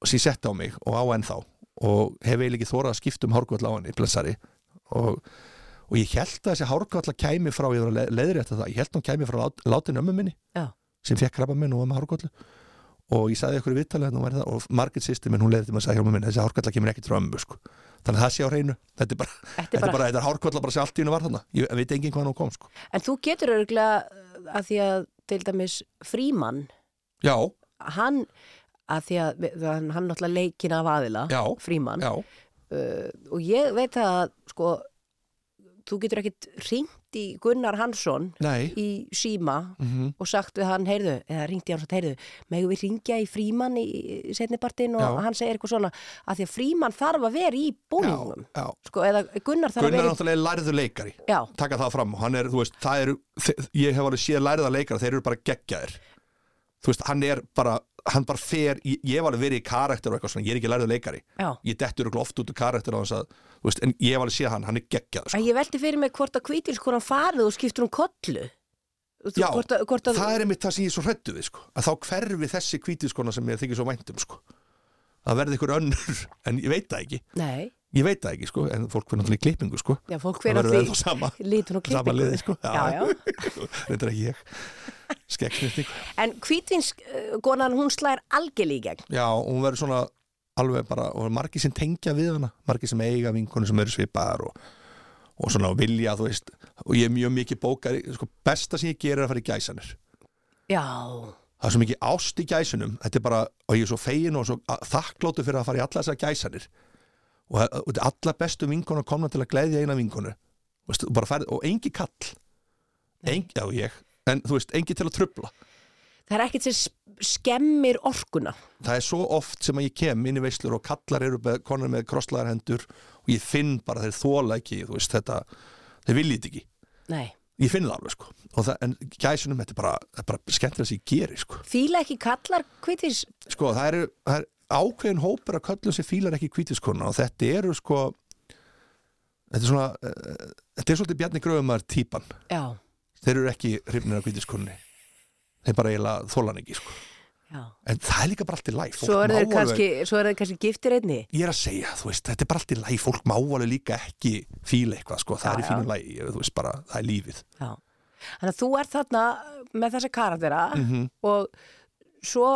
og sem ég setti á mig og á ennþá og hef eiginlega ekki þórað að skipta um hárkolla á henni blessari og, og ég held að þessi hárkolla kæmi frá ég var að leðri eftir það, ég held að hún kæmi frá lát, látin ömmu minni
Já.
sem fekk krabba minn og var með hárkollu og ég sagði ykkur í viðtalið hérna, hún væri það, og margir sýsti minn, hún leiði til mig að sagði hjálpa minn þessi hárkolla kemur ekkert frá ömmu sko. þannig að það sé á hreinu, þetta er bara
Þetta
þetta
er
er
bara,
bara, þetta er hárkolla bara sem allt í hennu var þarna ég veit engin hvað hún kom sko.
en þú getur örgulega að því að til dæmis frímann,
já,
hann, að því að við- hann, hann náttúrulega leikin af aðila,
Já,
frímann,
já,
uh, og ég veit að, sko, þú getur ekkit ringt í Gunnar Hansson
nei
í síma
mm
og sagt við hann, heyrðu, eða ringt í hann og sagt, heyrðu, megum við ringja í frímann í setnipartin og
Já.
hann segir eitthvað svona, að því að frímann þarf að vera í
já,
búningum.
já.
Sko, eða Gunnar þarf að
Gunnar er
vera í...
náttúrulega lærðu leikari
Já,
taka það fram, hann er, þú veist, það eru þe- ég hef alveg séð lærða leikara, þeir eru bara geggjaðir þú veist, hann er bara hann bara fer, ég, ég hef alveg verið í karakter og eitthvað svona, ég er ekki lærðu leikari
já.
ég dettur örugglega oft út úr karakter á þess að þú veist, en ég hef alveg séð hann, hann er geggjað
En
sko.
ég veldi fyrir mig hvort að kvítilskoran farið og skiptur hún kollu. Þú-
Já,
hvort að, hvort að,
það er einmitt það sem ég er svo hrættu við sko. að þá hverfi þessi kvítiskona sem ég þykir svo væntum sko. það verði ykkur önnur en ég veit það ekki,
Nei,
ég veit það ekki sko. en fólk verður náttúrulega í klippingu sko.
já, fólk
það
fyrir að
verður
því
ennþá sama
lítun og
sama
klippingu.
liði sko.
Já, já.
reyndar ekki ég skeggsnýtning
En kvítvinskonan, hún slær algjörlega í gegn.
já, og hún verður svona alveg bara, og margir sem tengja við hana margir sem eiga vinkonu sem eru svipaðar og, og svona vilja, þú veist og ég er mjög mikið bókari sko, besta sem ég gerir er að fara í gæsanir
Já,
það er svo mikið ást í gæsunum þetta er bara, og ég er svo fegin og svo þakklótu fyrir að fara í alla þessar gæsanir og, og þetta er alla bestu vinkonu komna til að gleyðja eina vinkonu veist, og, bara færð, og engi kall engi, já ég, en þú veist, engi til að trubla
það er ekkert sem s- skemmir orkuna.
það er svo oft sem að ég kem inn í veislur og kallar eru með, konar með krosslaðar hendur og ég finn bara þeir þóla ekki þú veist þetta, þeir viljið þetta ekki
Nei,
ég finn það alveg sko og það, en gæsunum þetta er bara, það er bara skemmtilega sem ég geri sko,
fíla ekki kallar kvítvins...
sko það eru það er ákveðin hópur að köllum sem fílar ekki kvítiskona og þetta eru sko þetta er svona uh, þetta er svolítið Bjarni Gröfumar típan
Já,
þeir eru ekki hrifnir af kvítiskonni þeir bara eiginlega þólan ekki sko
Já.
en það er líka bara allt í læg
Svo er þeir kannski, svo eru þeir kannski giftir einni.
ég er að segja, þú veist, þetta er bara allt í læg fólk má alveg líka ekki fíla eitthvað sko. það
Já,
er í
já.
fínu lægi, þú veist bara, það er lífið
Já. Þannig að þú ert þarna með þessa karaktera
Mhm.
og svo,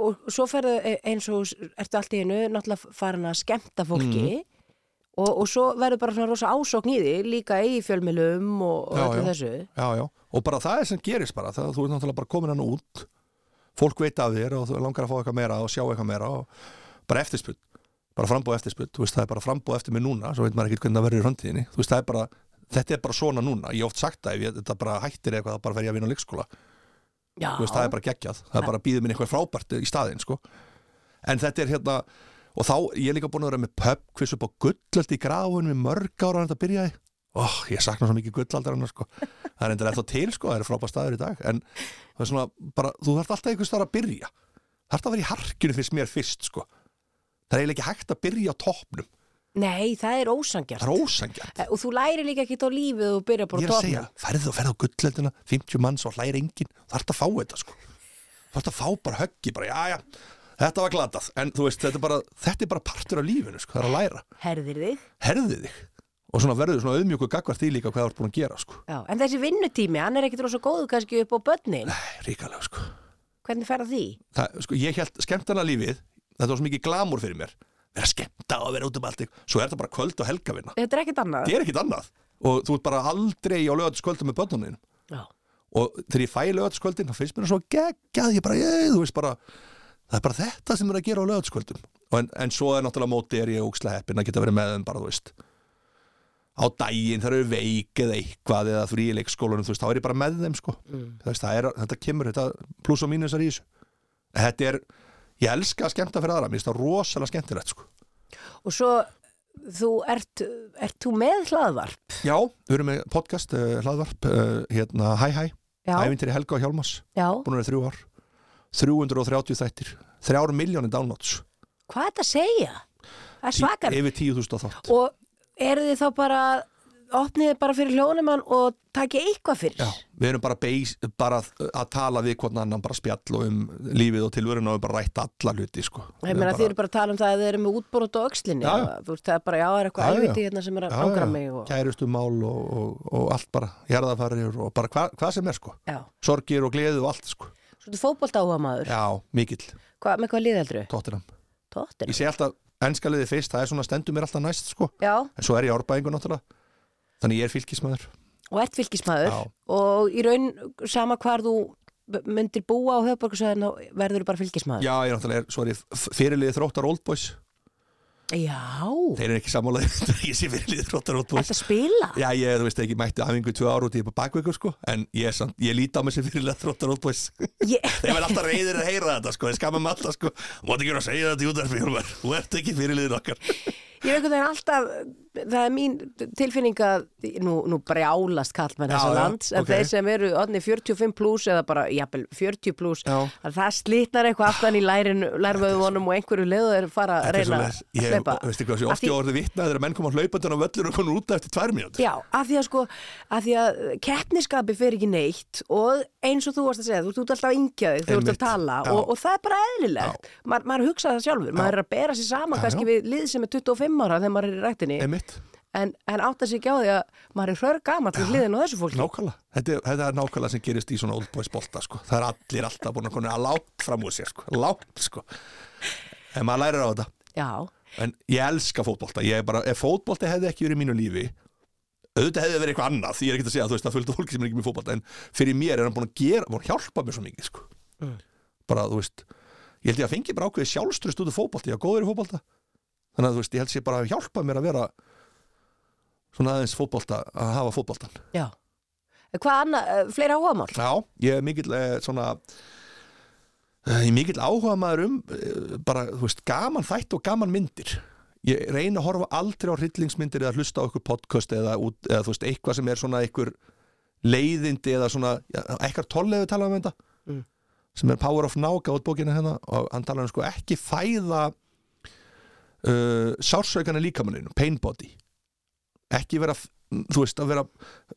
og svo ferðu e- eins og s- ertu allt í einu náttúrulega farin að skemmta fólki
Mhm.
og, og svo verður bara svona rosa ásókn í því líka í fjölmilum og, og
Já,
öllu
já.
þessu.
já, já. og bara það er sem gerist bara það, þú er náttúrulega bara komin hann út fólk veit af þér og þú langar að fá eitthvað meira og sjá eitthvað meira og bara eftirspunn bara frambúð eftirspunn, þú veist það er bara frambúð eftir mig núna, svo veit maður ekkert hvernig það verður í framtíðinni þú veist það er bara, þetta er bara svona núna ég hef oft sagt það, ef ég, þetta bara hættir eitthvað þá bara fer ég að vinna á leikskóla,
Já,
þú veist það er bara geggjað það er bara að býða minn eitthvað frábært í staðinn sko. en þetta er hérna og þá, ég er líka búin að vera með pub quiz upp á gullöld í grafunum í mörg ára en þetta byrjaði, óh, ég sakna svo mikið gullaldar sko. það er endur eftir til sko, það eru frábært staður í dag en það er svona, bara, þú þarft alltaf einhvers staðar að byrja þarft að vera í harkinu fyrst mér fyrst sko. það er eiginlega ekki hægt að byrja á topnum,
Nei, það er ósangjart.
það er ósangjart
Og þú læri líka ekkit á lífið og byrja bara
ég
á
er að
toppnum.
segja, ferðu og ferðu á gullöldina 50 manns og hlæri enginn, það ert að fá þetta sko. það ert að fá bara höggi bara, já, já, þetta var glatað en þú veist, þetta er bara, þetta er bara partur af lífinu sko, það er að læra,
Herðir þig.
herðið þig og svona verður svona auðmjöku gagvart því líka hvað það er búin að gera sko.
Já, en þessi vinnutími, hann er ekkit rosa góðu kannski upp á börnin.
Æ, ríkalega sko.
Hvernig ferða því?
Það, sko, ég held skemmtana lífið þetta var svo mikið glamur fyrir mér vera skemmta og vera út um allt ykkur. svo er þetta bara kvöld og helgavinna
Þetta er ekkit annað.
það er ekkit annað og þú ert bara aldrei á lögatiskvöldu með börnunin
Já.
og þegar ég fæ lögatiskvöldin þá finnst mér það svo geggjað ég bara, ég, þú veist bara það er bara þetta sem er að gera á lögatiskvöldum en, en svo er náttúrulega á móti er ég ókslega heppin að geta verið með þeim bara, þú veist á daginn þegar eru veik eða eitthvað eða þú í leikskólanum, þú veist, þá er ég bara með þeim sko. Þú veist, það er, þetta kemur þetta pluss og mínusar í þessu þetta er, ég elska að skemmta fyrir aðra mér finnst það rosalega skemmtilegt sko.
Og svo, þú ert, ert þú með hlaðvarp?
já, við erum með podcast, uh, hlaðvarp uh, hérna, hæ hæ,
Já,
æfintýri Helga og Hjálmas
já.
búin að vera í þrjú ár 330 þættir, 3 miljónir downloads
Hvað er þetta að segja? Það er svakar.
Tí- yfir 10.000 á þátt
Og eru þið þá bara, opnið þið bara fyrir hljónumann og takið eitthvað fyrir?
Já, við erum bara, beis, bara að tala við hvernig annan bara spjall og um lífið og tilvörun og við bara rætt alla hluti sko.
Ég meina þið eru bara að tala um það að þið eru með útbrot á öxlinni.
Já, já.
eða Þú veist það er bara, já, það er
Já,
eitthvað
já.
alviti hérna sem er að angra mig. Og...
Kærustu mál og, og, og allt bara Jarðafarir og bara hva, hvað sem er sko
Já.
Sorgir og gleði og allt sko
Svo þetta fótbolt áhuga maður.
Já, mikill,
Hva, með hvað liðeldru?
tóttinam Ég
Tóttina.
sé alltaf enska liðið fyrst, það er svona stendur mér alltaf næst sko
Já,
En svo er ég árbæðingu náttúrulega Þannig ég er fylgismæður
og ert fylgismæður.
Já.
Og í raun, sama hvar þú b- myndir búa á höfborgarsæðin, þá verður þú bara fylgismæður.
Já, ég náttúrulega er, svo er ég f- fyrirliðið þróttar Old Boys
já.
Þeir eru ekki sammálaðið, ég sé fyrirliðið þróttar Old Boys
Ertu að spila?
Já, ég, þú veist ekki, mætti aðingu tvö ára út í bakveikur, sko, en ég, er samt, ég líti á mig sem fyrirlega þróttar Old Boys.
Ég,
Þeir verða alltaf reyðir að heyra þetta, sko, þeir skamma mig alltaf, sko, þú mátt ekki vera að segja þetta í útverfi, Hjálmar, þú ert ekki fyrirliðin okkar.
ég er einhvern veginn alltaf, það er mín tilfinning að, nú, nú brjálast kall með
Já,
þessa
já,
lands, en
ok.
þeir sem eru odni 45 pluss eða bara, jafnvel, 40 pluss,
Já.
að það slitnar eitthvað aftan í lærin, lærvöðunum og einhverju leiðu er fara að
Þetta er
reyna
svoleiðis.
að
Ég,
hlaupa.
veistu hvað, þessi
Af
oft ég orðið vitnað þegar menn koma hlaupandun á völlur og konur út eftir tvær mínútur.
Já, af því að sko, af því að keppniskapi fer ekki neitt og eins og þú varst að segja, þú ert út alltaf að yngja þig, þú ert að
Einmitt.
tala
Já.
og, og það er bara eðlilegt, maður maður hugsa það sjálfur, maður er að bera sér saman
Já,
kannski
já.
við lið sem er 25 ára þegar maður er í rættinni
Einmitt,
en, en átt að sig ekki á því að maður er hrör gamall við hliðin á þessu fólki
nákvæmlega. Þetta, er- þetta er nákvæmlega sem gerist í svona Old Boys bolta, sko. Það er allir alltaf búin að konur að látt fram úr sér, sko, látt, sko. En maður lærir á þetta.
Já,
en ég elska fótbolta ég er bara, ef fótbolta hefði ekki verið í mínu lífi auðvitað hefði verið eitthvað annað ég er ekkert að segja þú veist að fölta fólki sem er ekki með fótbolta en fyrir mér er hann búin að gera, búin að hjálpa mér svo mikið sko. bara þú veist ég held ég að fengi bara ákveði sjálfstrust út af fótbolta ég er góður í fótbolta þannig að þú veist, ég held sér bara að hjálpa mér að vera svona aðeins fótbolta að hafa fótboltan
já Hvað annað, eh, fleira áhugamál?
Já, ég er mikill eh, svona eh, ég er mikill áhuga maður um eh, bara, þú veist, gaman þætt og gaman myndir ég reyna að horfa aldrei á hryllingsmyndir eða hlusta á okkur podcast eða, út, eða þú veist, eitthvað sem er svona einhver leiðindi eða svona ja, eitthvað tollefi tala um þetta sem er Power of Now gátt bókina hérna og hann talar um sko ekki fæða uh, sársökana líkamaninu, pain body ekki vera þú veist, að vera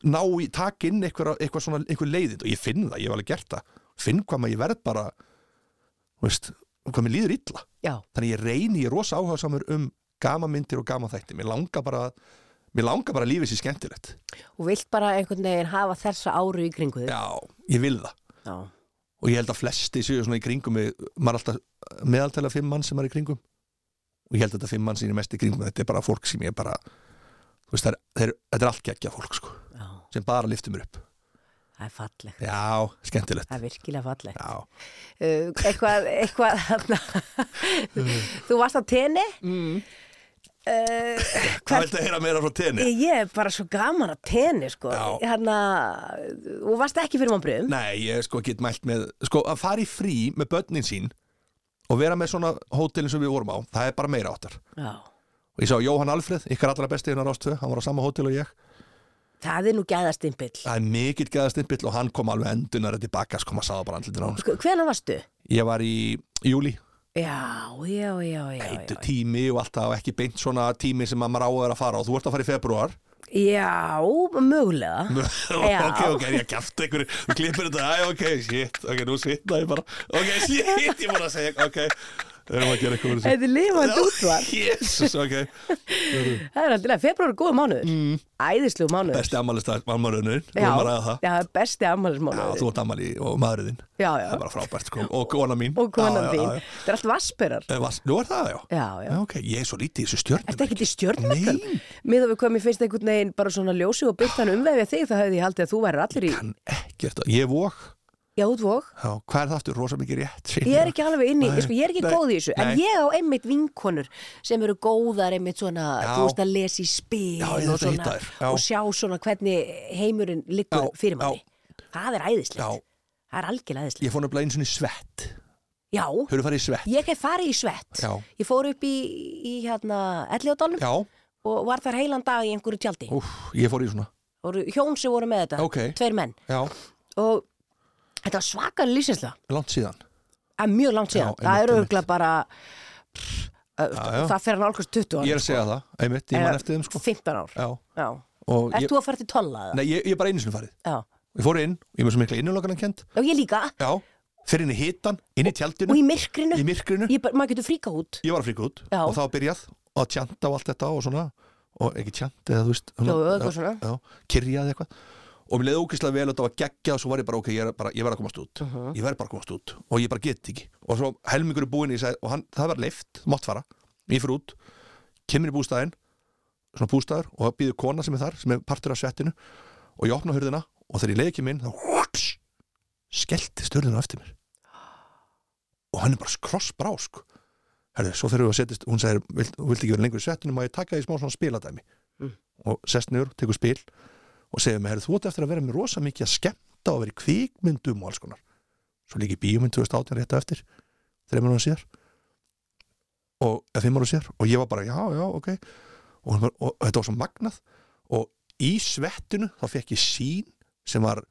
ná í, taka inn eitthvað, eitthvað svona, eitthvað leiðind og ég finn það, ég hef alveg gert það finn hvað maður ég verð bara veist, hvað mér líður illa
já,
þannig ég reyni, ég er rosa áhuga samur um gamanmyndir og gamanþætti mér langar bara, mér langar bara að lífið sér skemmtilegt
og vilt bara einhvern veginn hafa þessa áru í kringu þig.
já, ég vil það
Já.
og ég held að flesti séu svona í kringum mig, maður er alltaf meðaltæla fimm mann sem er í kringum og ég held að þetta fimm mann sem ég er mest í kringum þetta er bara fólk sem ég bara þú veist, það er, það er, þetta er allt geggja fólk sko,
já,
sem bara liftur mér upp
það er fallegt.
já, skemmtilegt
Það er virkilega fallegt.
já,
Uh, eitthvað, eitthvað, þarna, þú varst á tenni? Mm. Uh,
hvað viltu að heyra meira frá tenni?
ég ég er bara svo gaman að tenni, sko.
Já.
Hérna, og varst ekki fyrir mannbröðum?
nei, ég sko get mælt með sko, að fara í frí með börnin sín og vera með svona hótelin sem við vorum á það er bara meira áttar
Já.
og ég sá Jóhann Alfreð, ykkar allra besti hérna rástöð, hann var á sama hótel og ég
Það er nú gæðastimpill.
það er mikill geðastimpill og hann kom alveg endunar tilbaka, sko, maður sáða bara andlutin á hann
Sko, hvenær varstu?
Ég var í júli,
Já, já, já, já.
heitu
já.
tími og alltaf ekki beint svona tími sem að maður á að vera að fara og þú ert að fara í februar
Já, mögulega. Já.
ok, ok, ég kæfti einhverju þú klippir þetta, æ, ok, shit, ok, nú svitna ég bara ok, shit, ég voru að segja, ok við erum að gera eitthvað úr þessu.
Þetta er lifandi útvar.
Jesus, ok,
Það er alltaf, februar er góða mánuður. Mm. Æðislu mánuður.
besti ammalistag, ammalunur við erum að ræða það
Já, besti
Já,
afmælismánuður.
þú ert ammali og maðurinn þinn
Já, já.
Það er bara frábært, sko, og kona mín
Og konan
Já, já,
þín.
já, já.
Það er allt vasperar.
Eh, vas- Nú er það, já
Já, já.
ok, ég er svo lítið í þessu stjörnum
Ertu ekkert í stjörnumökkum?
Nei.
Með að við komum í fyrst einhvern veginn bara svona ljósi og byrtan umvefið þig, það hefði ég haldið að þú væri allir í
kann ekkert að, ég vók
játvog.
Já, hvað er það aftur? Rosa mikið rétt
Ég er ekki alveg inn í,
Nei,
sko, ég er ekki
nei,
góð í þessu, en
nei.
ég á einmitt vinkonur sem eru góðar einmitt svona,
Já.
þú veist að lesa í spil
Já,
og,
ég þetta
svona,
hitta þér, já.
og sjá svona hvernig heimurinn liggur
Já,
fyrir manni.
já.
Það er æðislegt.
Já.
Það er algjörlega æðislegt.
Ég fór nefnilega einu sinni í svett
Já,
Hörðu farið í svett?
ég hef farið í svett.
Já.
Ég fór upp í, í hérna, Elliðadalum
Já,
og var þar heilan dag í einhverju tjaldi.
úf, ég fór í svona
Það voru hjón sem voru með þetta,
Ókei.
tveir menn.
Já,
Og þetta var svakar lýsinslega,
langt síðan
en mjög langt síðan. það
Já, einmitt,
er
einmitt.
örgulega bara, pff,
Já,
já,
já.
það fer hann álkast 20 ára.
Ég er að segja það, einmitt, ég man
Eða
eftir þeim sko
15 ár,
Já,
já.
og
Eh, Ert
ég,
þú að fara til tolla eða?
nei, ég, ég er bara einu sinni farið
Já.
Ég fór inn, ég er með svo mikla innulokana kent
Já, ég líka.
Já, fyrir inn í hitan, inn í tjaldinu
Og í myrkrinu.
Í myrkrinu.
Ég bara, maður getur fríka út.
Ég var að fríka út
Já.
og þá byrjað að tjanta og allt þetta og svona og ekki tjanta eða þú veist
Jú, jú, eitthvað svona.
Hérna, já, kyrjaði eitthvað og mér leiði ógeðslega vel og þetta var geggja og svo var ég bara ok, ég, er bara, ég verð að komast út ég verð bara að komast út og ég bara get ekki og svo helmingur er búinn ég sagði, og hann, það var leift, mátt fara ég fyrir út, kemur í bústæðin svona bústæður og það býður kona sem er þar sem er partur af svettinu og ég opna hurðina og þegar ég leiði ekki minn þá húts, skellti störðina eftir mér og hann er bara krossbrá sko Herðu, svo þegar við að setjast, hún segir, vilt, þú vilt ekki vera lengur í svettinu, má ég taka því smá svona spiladæmi og sest niður, tekur spil og segir mig, herru, þú ert eftir að vera með rosa mikið að skemmta og vera í kvikmyndum og alls konar svo líka í bíómynd 2018 rétt á eftir þreymur hann síðar og eða fimmur hann síðar og ég var bara, já, já, ok og, hún var, og þetta var svo magnað og í svettinu þá fekk ég sín sem var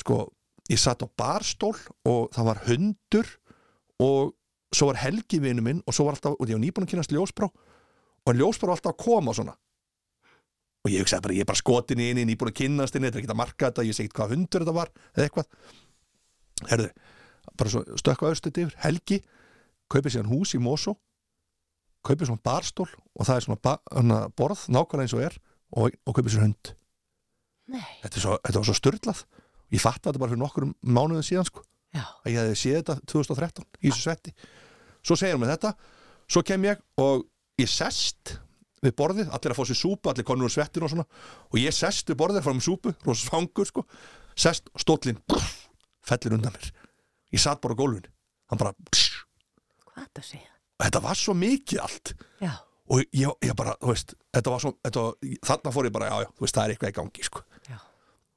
sko, ég satt á barstól og það var hundur og svo var Helgi vinnu minn og svo var alltaf, og ég var nýbúin að kynast ljósbrá og ljósbrá var alltaf að koma svona og ég hugsaði bara, ég er bara skotin í henni nýbúin að kynast henni, þetta er ekki að marka þetta ég sé ekkert hvað hundur þetta var, eða eitthvað herðu, bara svo stökka austut yfir, Helgi kaupið síðan hús í Mosó kaupið svona barstól og það er svona ba hana, borð, nákvæmlega eins og er og, og kaupið sér hund
Nei.
þetta, er svo, þetta var svo styrlað ég fatt þetta bara fyrir nokkrum mánuðu síðan sko
Já.
að ég hefði séð þetta 2013 í þessu svetti svo segir hún mér þetta, svo kem ég og ég sest við borðið allir að fá sér súpu, allir konur úr svettinu og svona og ég sest við borðið að fá mér súpu rosa svangur sko, sest og stóllinn brrr, fellir undan mér ég satt bara á gólfinu, hann bara pss,
Hvað það segja?
þetta var svo mikið allt
Já.
og ég, ég bara, þú veist þetta var svo, þetta, var- þarna fór ég bara, já já, þú veist, það er eitthvað í gangi sko,
Já.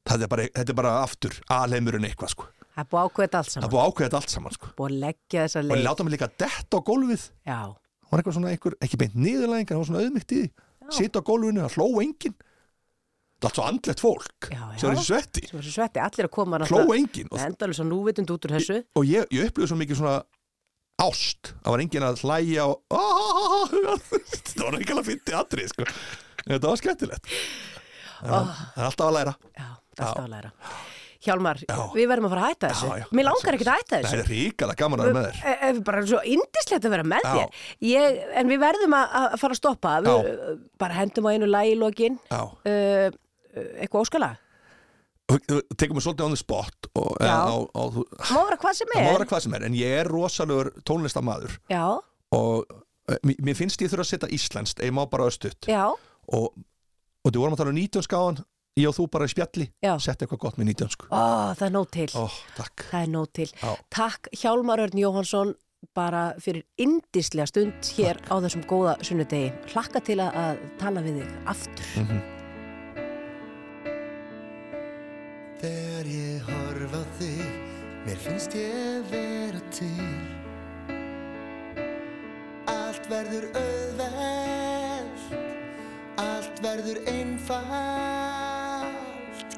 þetta er bara, þetta er bara aftur, alheimurinn eitthvað sko,
Það er búið ákveðið allt
það er
saman.
búið að ákveða þetta allt saman sko
Búið að leggja þessa
og
leið.
ég láta mig líka detta á gólfið
Já.
Það var eitthvað svona einhver, ekki beint niðurlæðing en það var svona auðmygt í því sitt á gólfinu, það hló engin það er allt svo andlegt fólk
Já, já.
sem er í svetti,
Sem var svo svetti, allir að koma
hló engin og,
Endalur svo núvitund út úr þessu.
og ég, ég upplýði svo mikið svona ást, það var engin að hlæja og það var ekki alveg fyndi atrið sko.
Ah.
En þetta var skemmtilegt það er alltaf að læra
Já, það er alltaf að læra. Hjálmar,
Já.
við verðum að fara að hætta þessu
Já, já.
Mér langar ekkert að hætta
Það
þessu
er ríkala gaman að vera með þér
E- e- bara svo indislegt að vera með
Já.
þér ég, en við verðum að, að fara að stoppa við,
Já.
bara hendum á einu lagi í lokin uh,
Já,
uh, eitthvað óskala
Þú- þú tekur mig svolítið on the spot og,
Já.
á, á, þú,
það má vera hvað sem
Það
er
má vera hvað sem er, en ég er rosalegur tónlistamæður
já,
og eh, mér- mér finnst ég þurfa að setja íslenskt, ég má bara östutt
já,
og, og þú vorum að tala um 19 skáðan ég og þú bara í spjalli,
Já.
sett eitthvað gott með 19 sko.
ó, það er nóg til
Ó, takk
það er nóg til
Já.
takk Hjálmar Örn Jóhansson bara fyrir indislega stund hér á þessum góða sunnudegi hlakka til að- að tala við þig aftur
Þegar ég horf á þig, mér finnst ég vera til Allt verður auðvelt, allt verður einfalt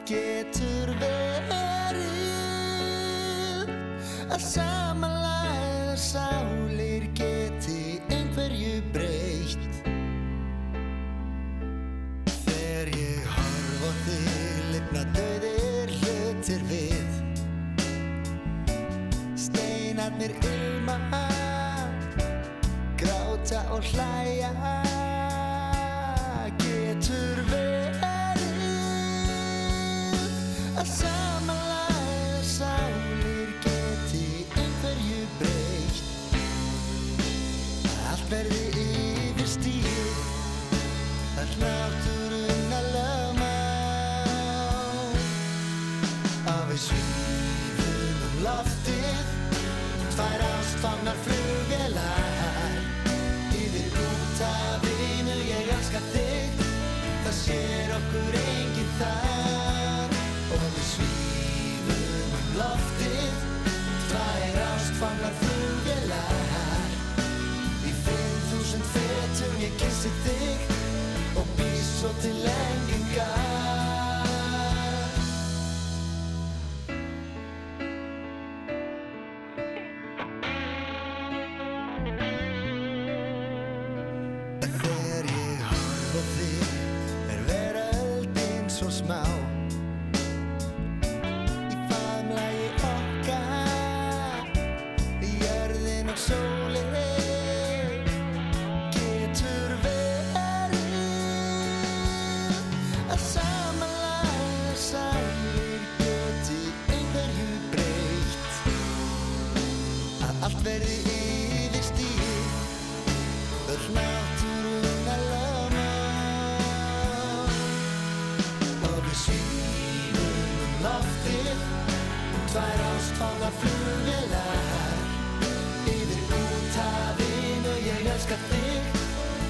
Getur verið að samanlæða sálir geti einhverju breytt Þegar ég horf á þig, lifna döðir hlutir við Steinarnir ilma, gráta og hlæja Getur verið að samanlæða sálir geti einhverju breytt Allt verði yfir stíð að náttúrun að lögma að við svífum um loftið tvær ástfangnar flugvelar yfir búta vinu ég elska þig það sér okkur enginn þar og við svífum um loftið tvær ástfangnar flugvelar í 5000 fetum ég kissi þig og býr svo til lengingar Þegar ég horf á þig er veröldin svo smá Í faðmlagi okkar í jörðin og sólin getur verið að samanlæða sælir geti einhverju breytt að allt verði yfir stíð öll náttúrun að lögma og við svífum um loftið tvær ástfanga flugvelar yfir úthafinu ég elska þig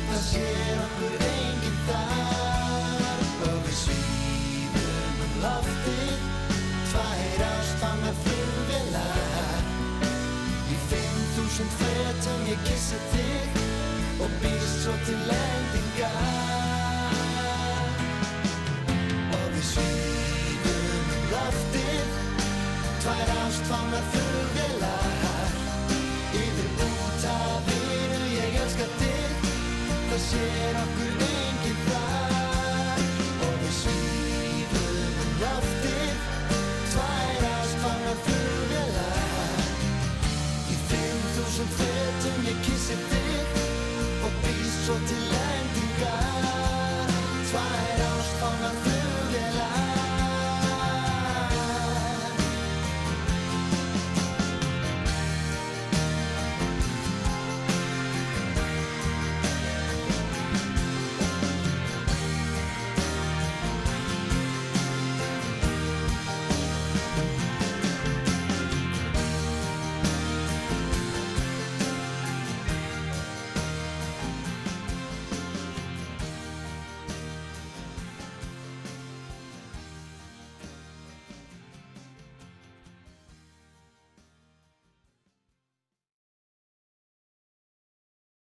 Það sér okkur enginn þar Og við svífum um loftið Tvær ástfanga flugvelar Í 5.000 fetum ég kissi þig Og býst svo til lendingar Og við svífum um loftið Tvær ástfanga flugvelar Yfir út af vinu ég elska þig Það sér okkur enginn þar Og við svífum um loftið Tvær ástfanga flugvelar Í 5.000 fetum ég kissi þig Og býst svo til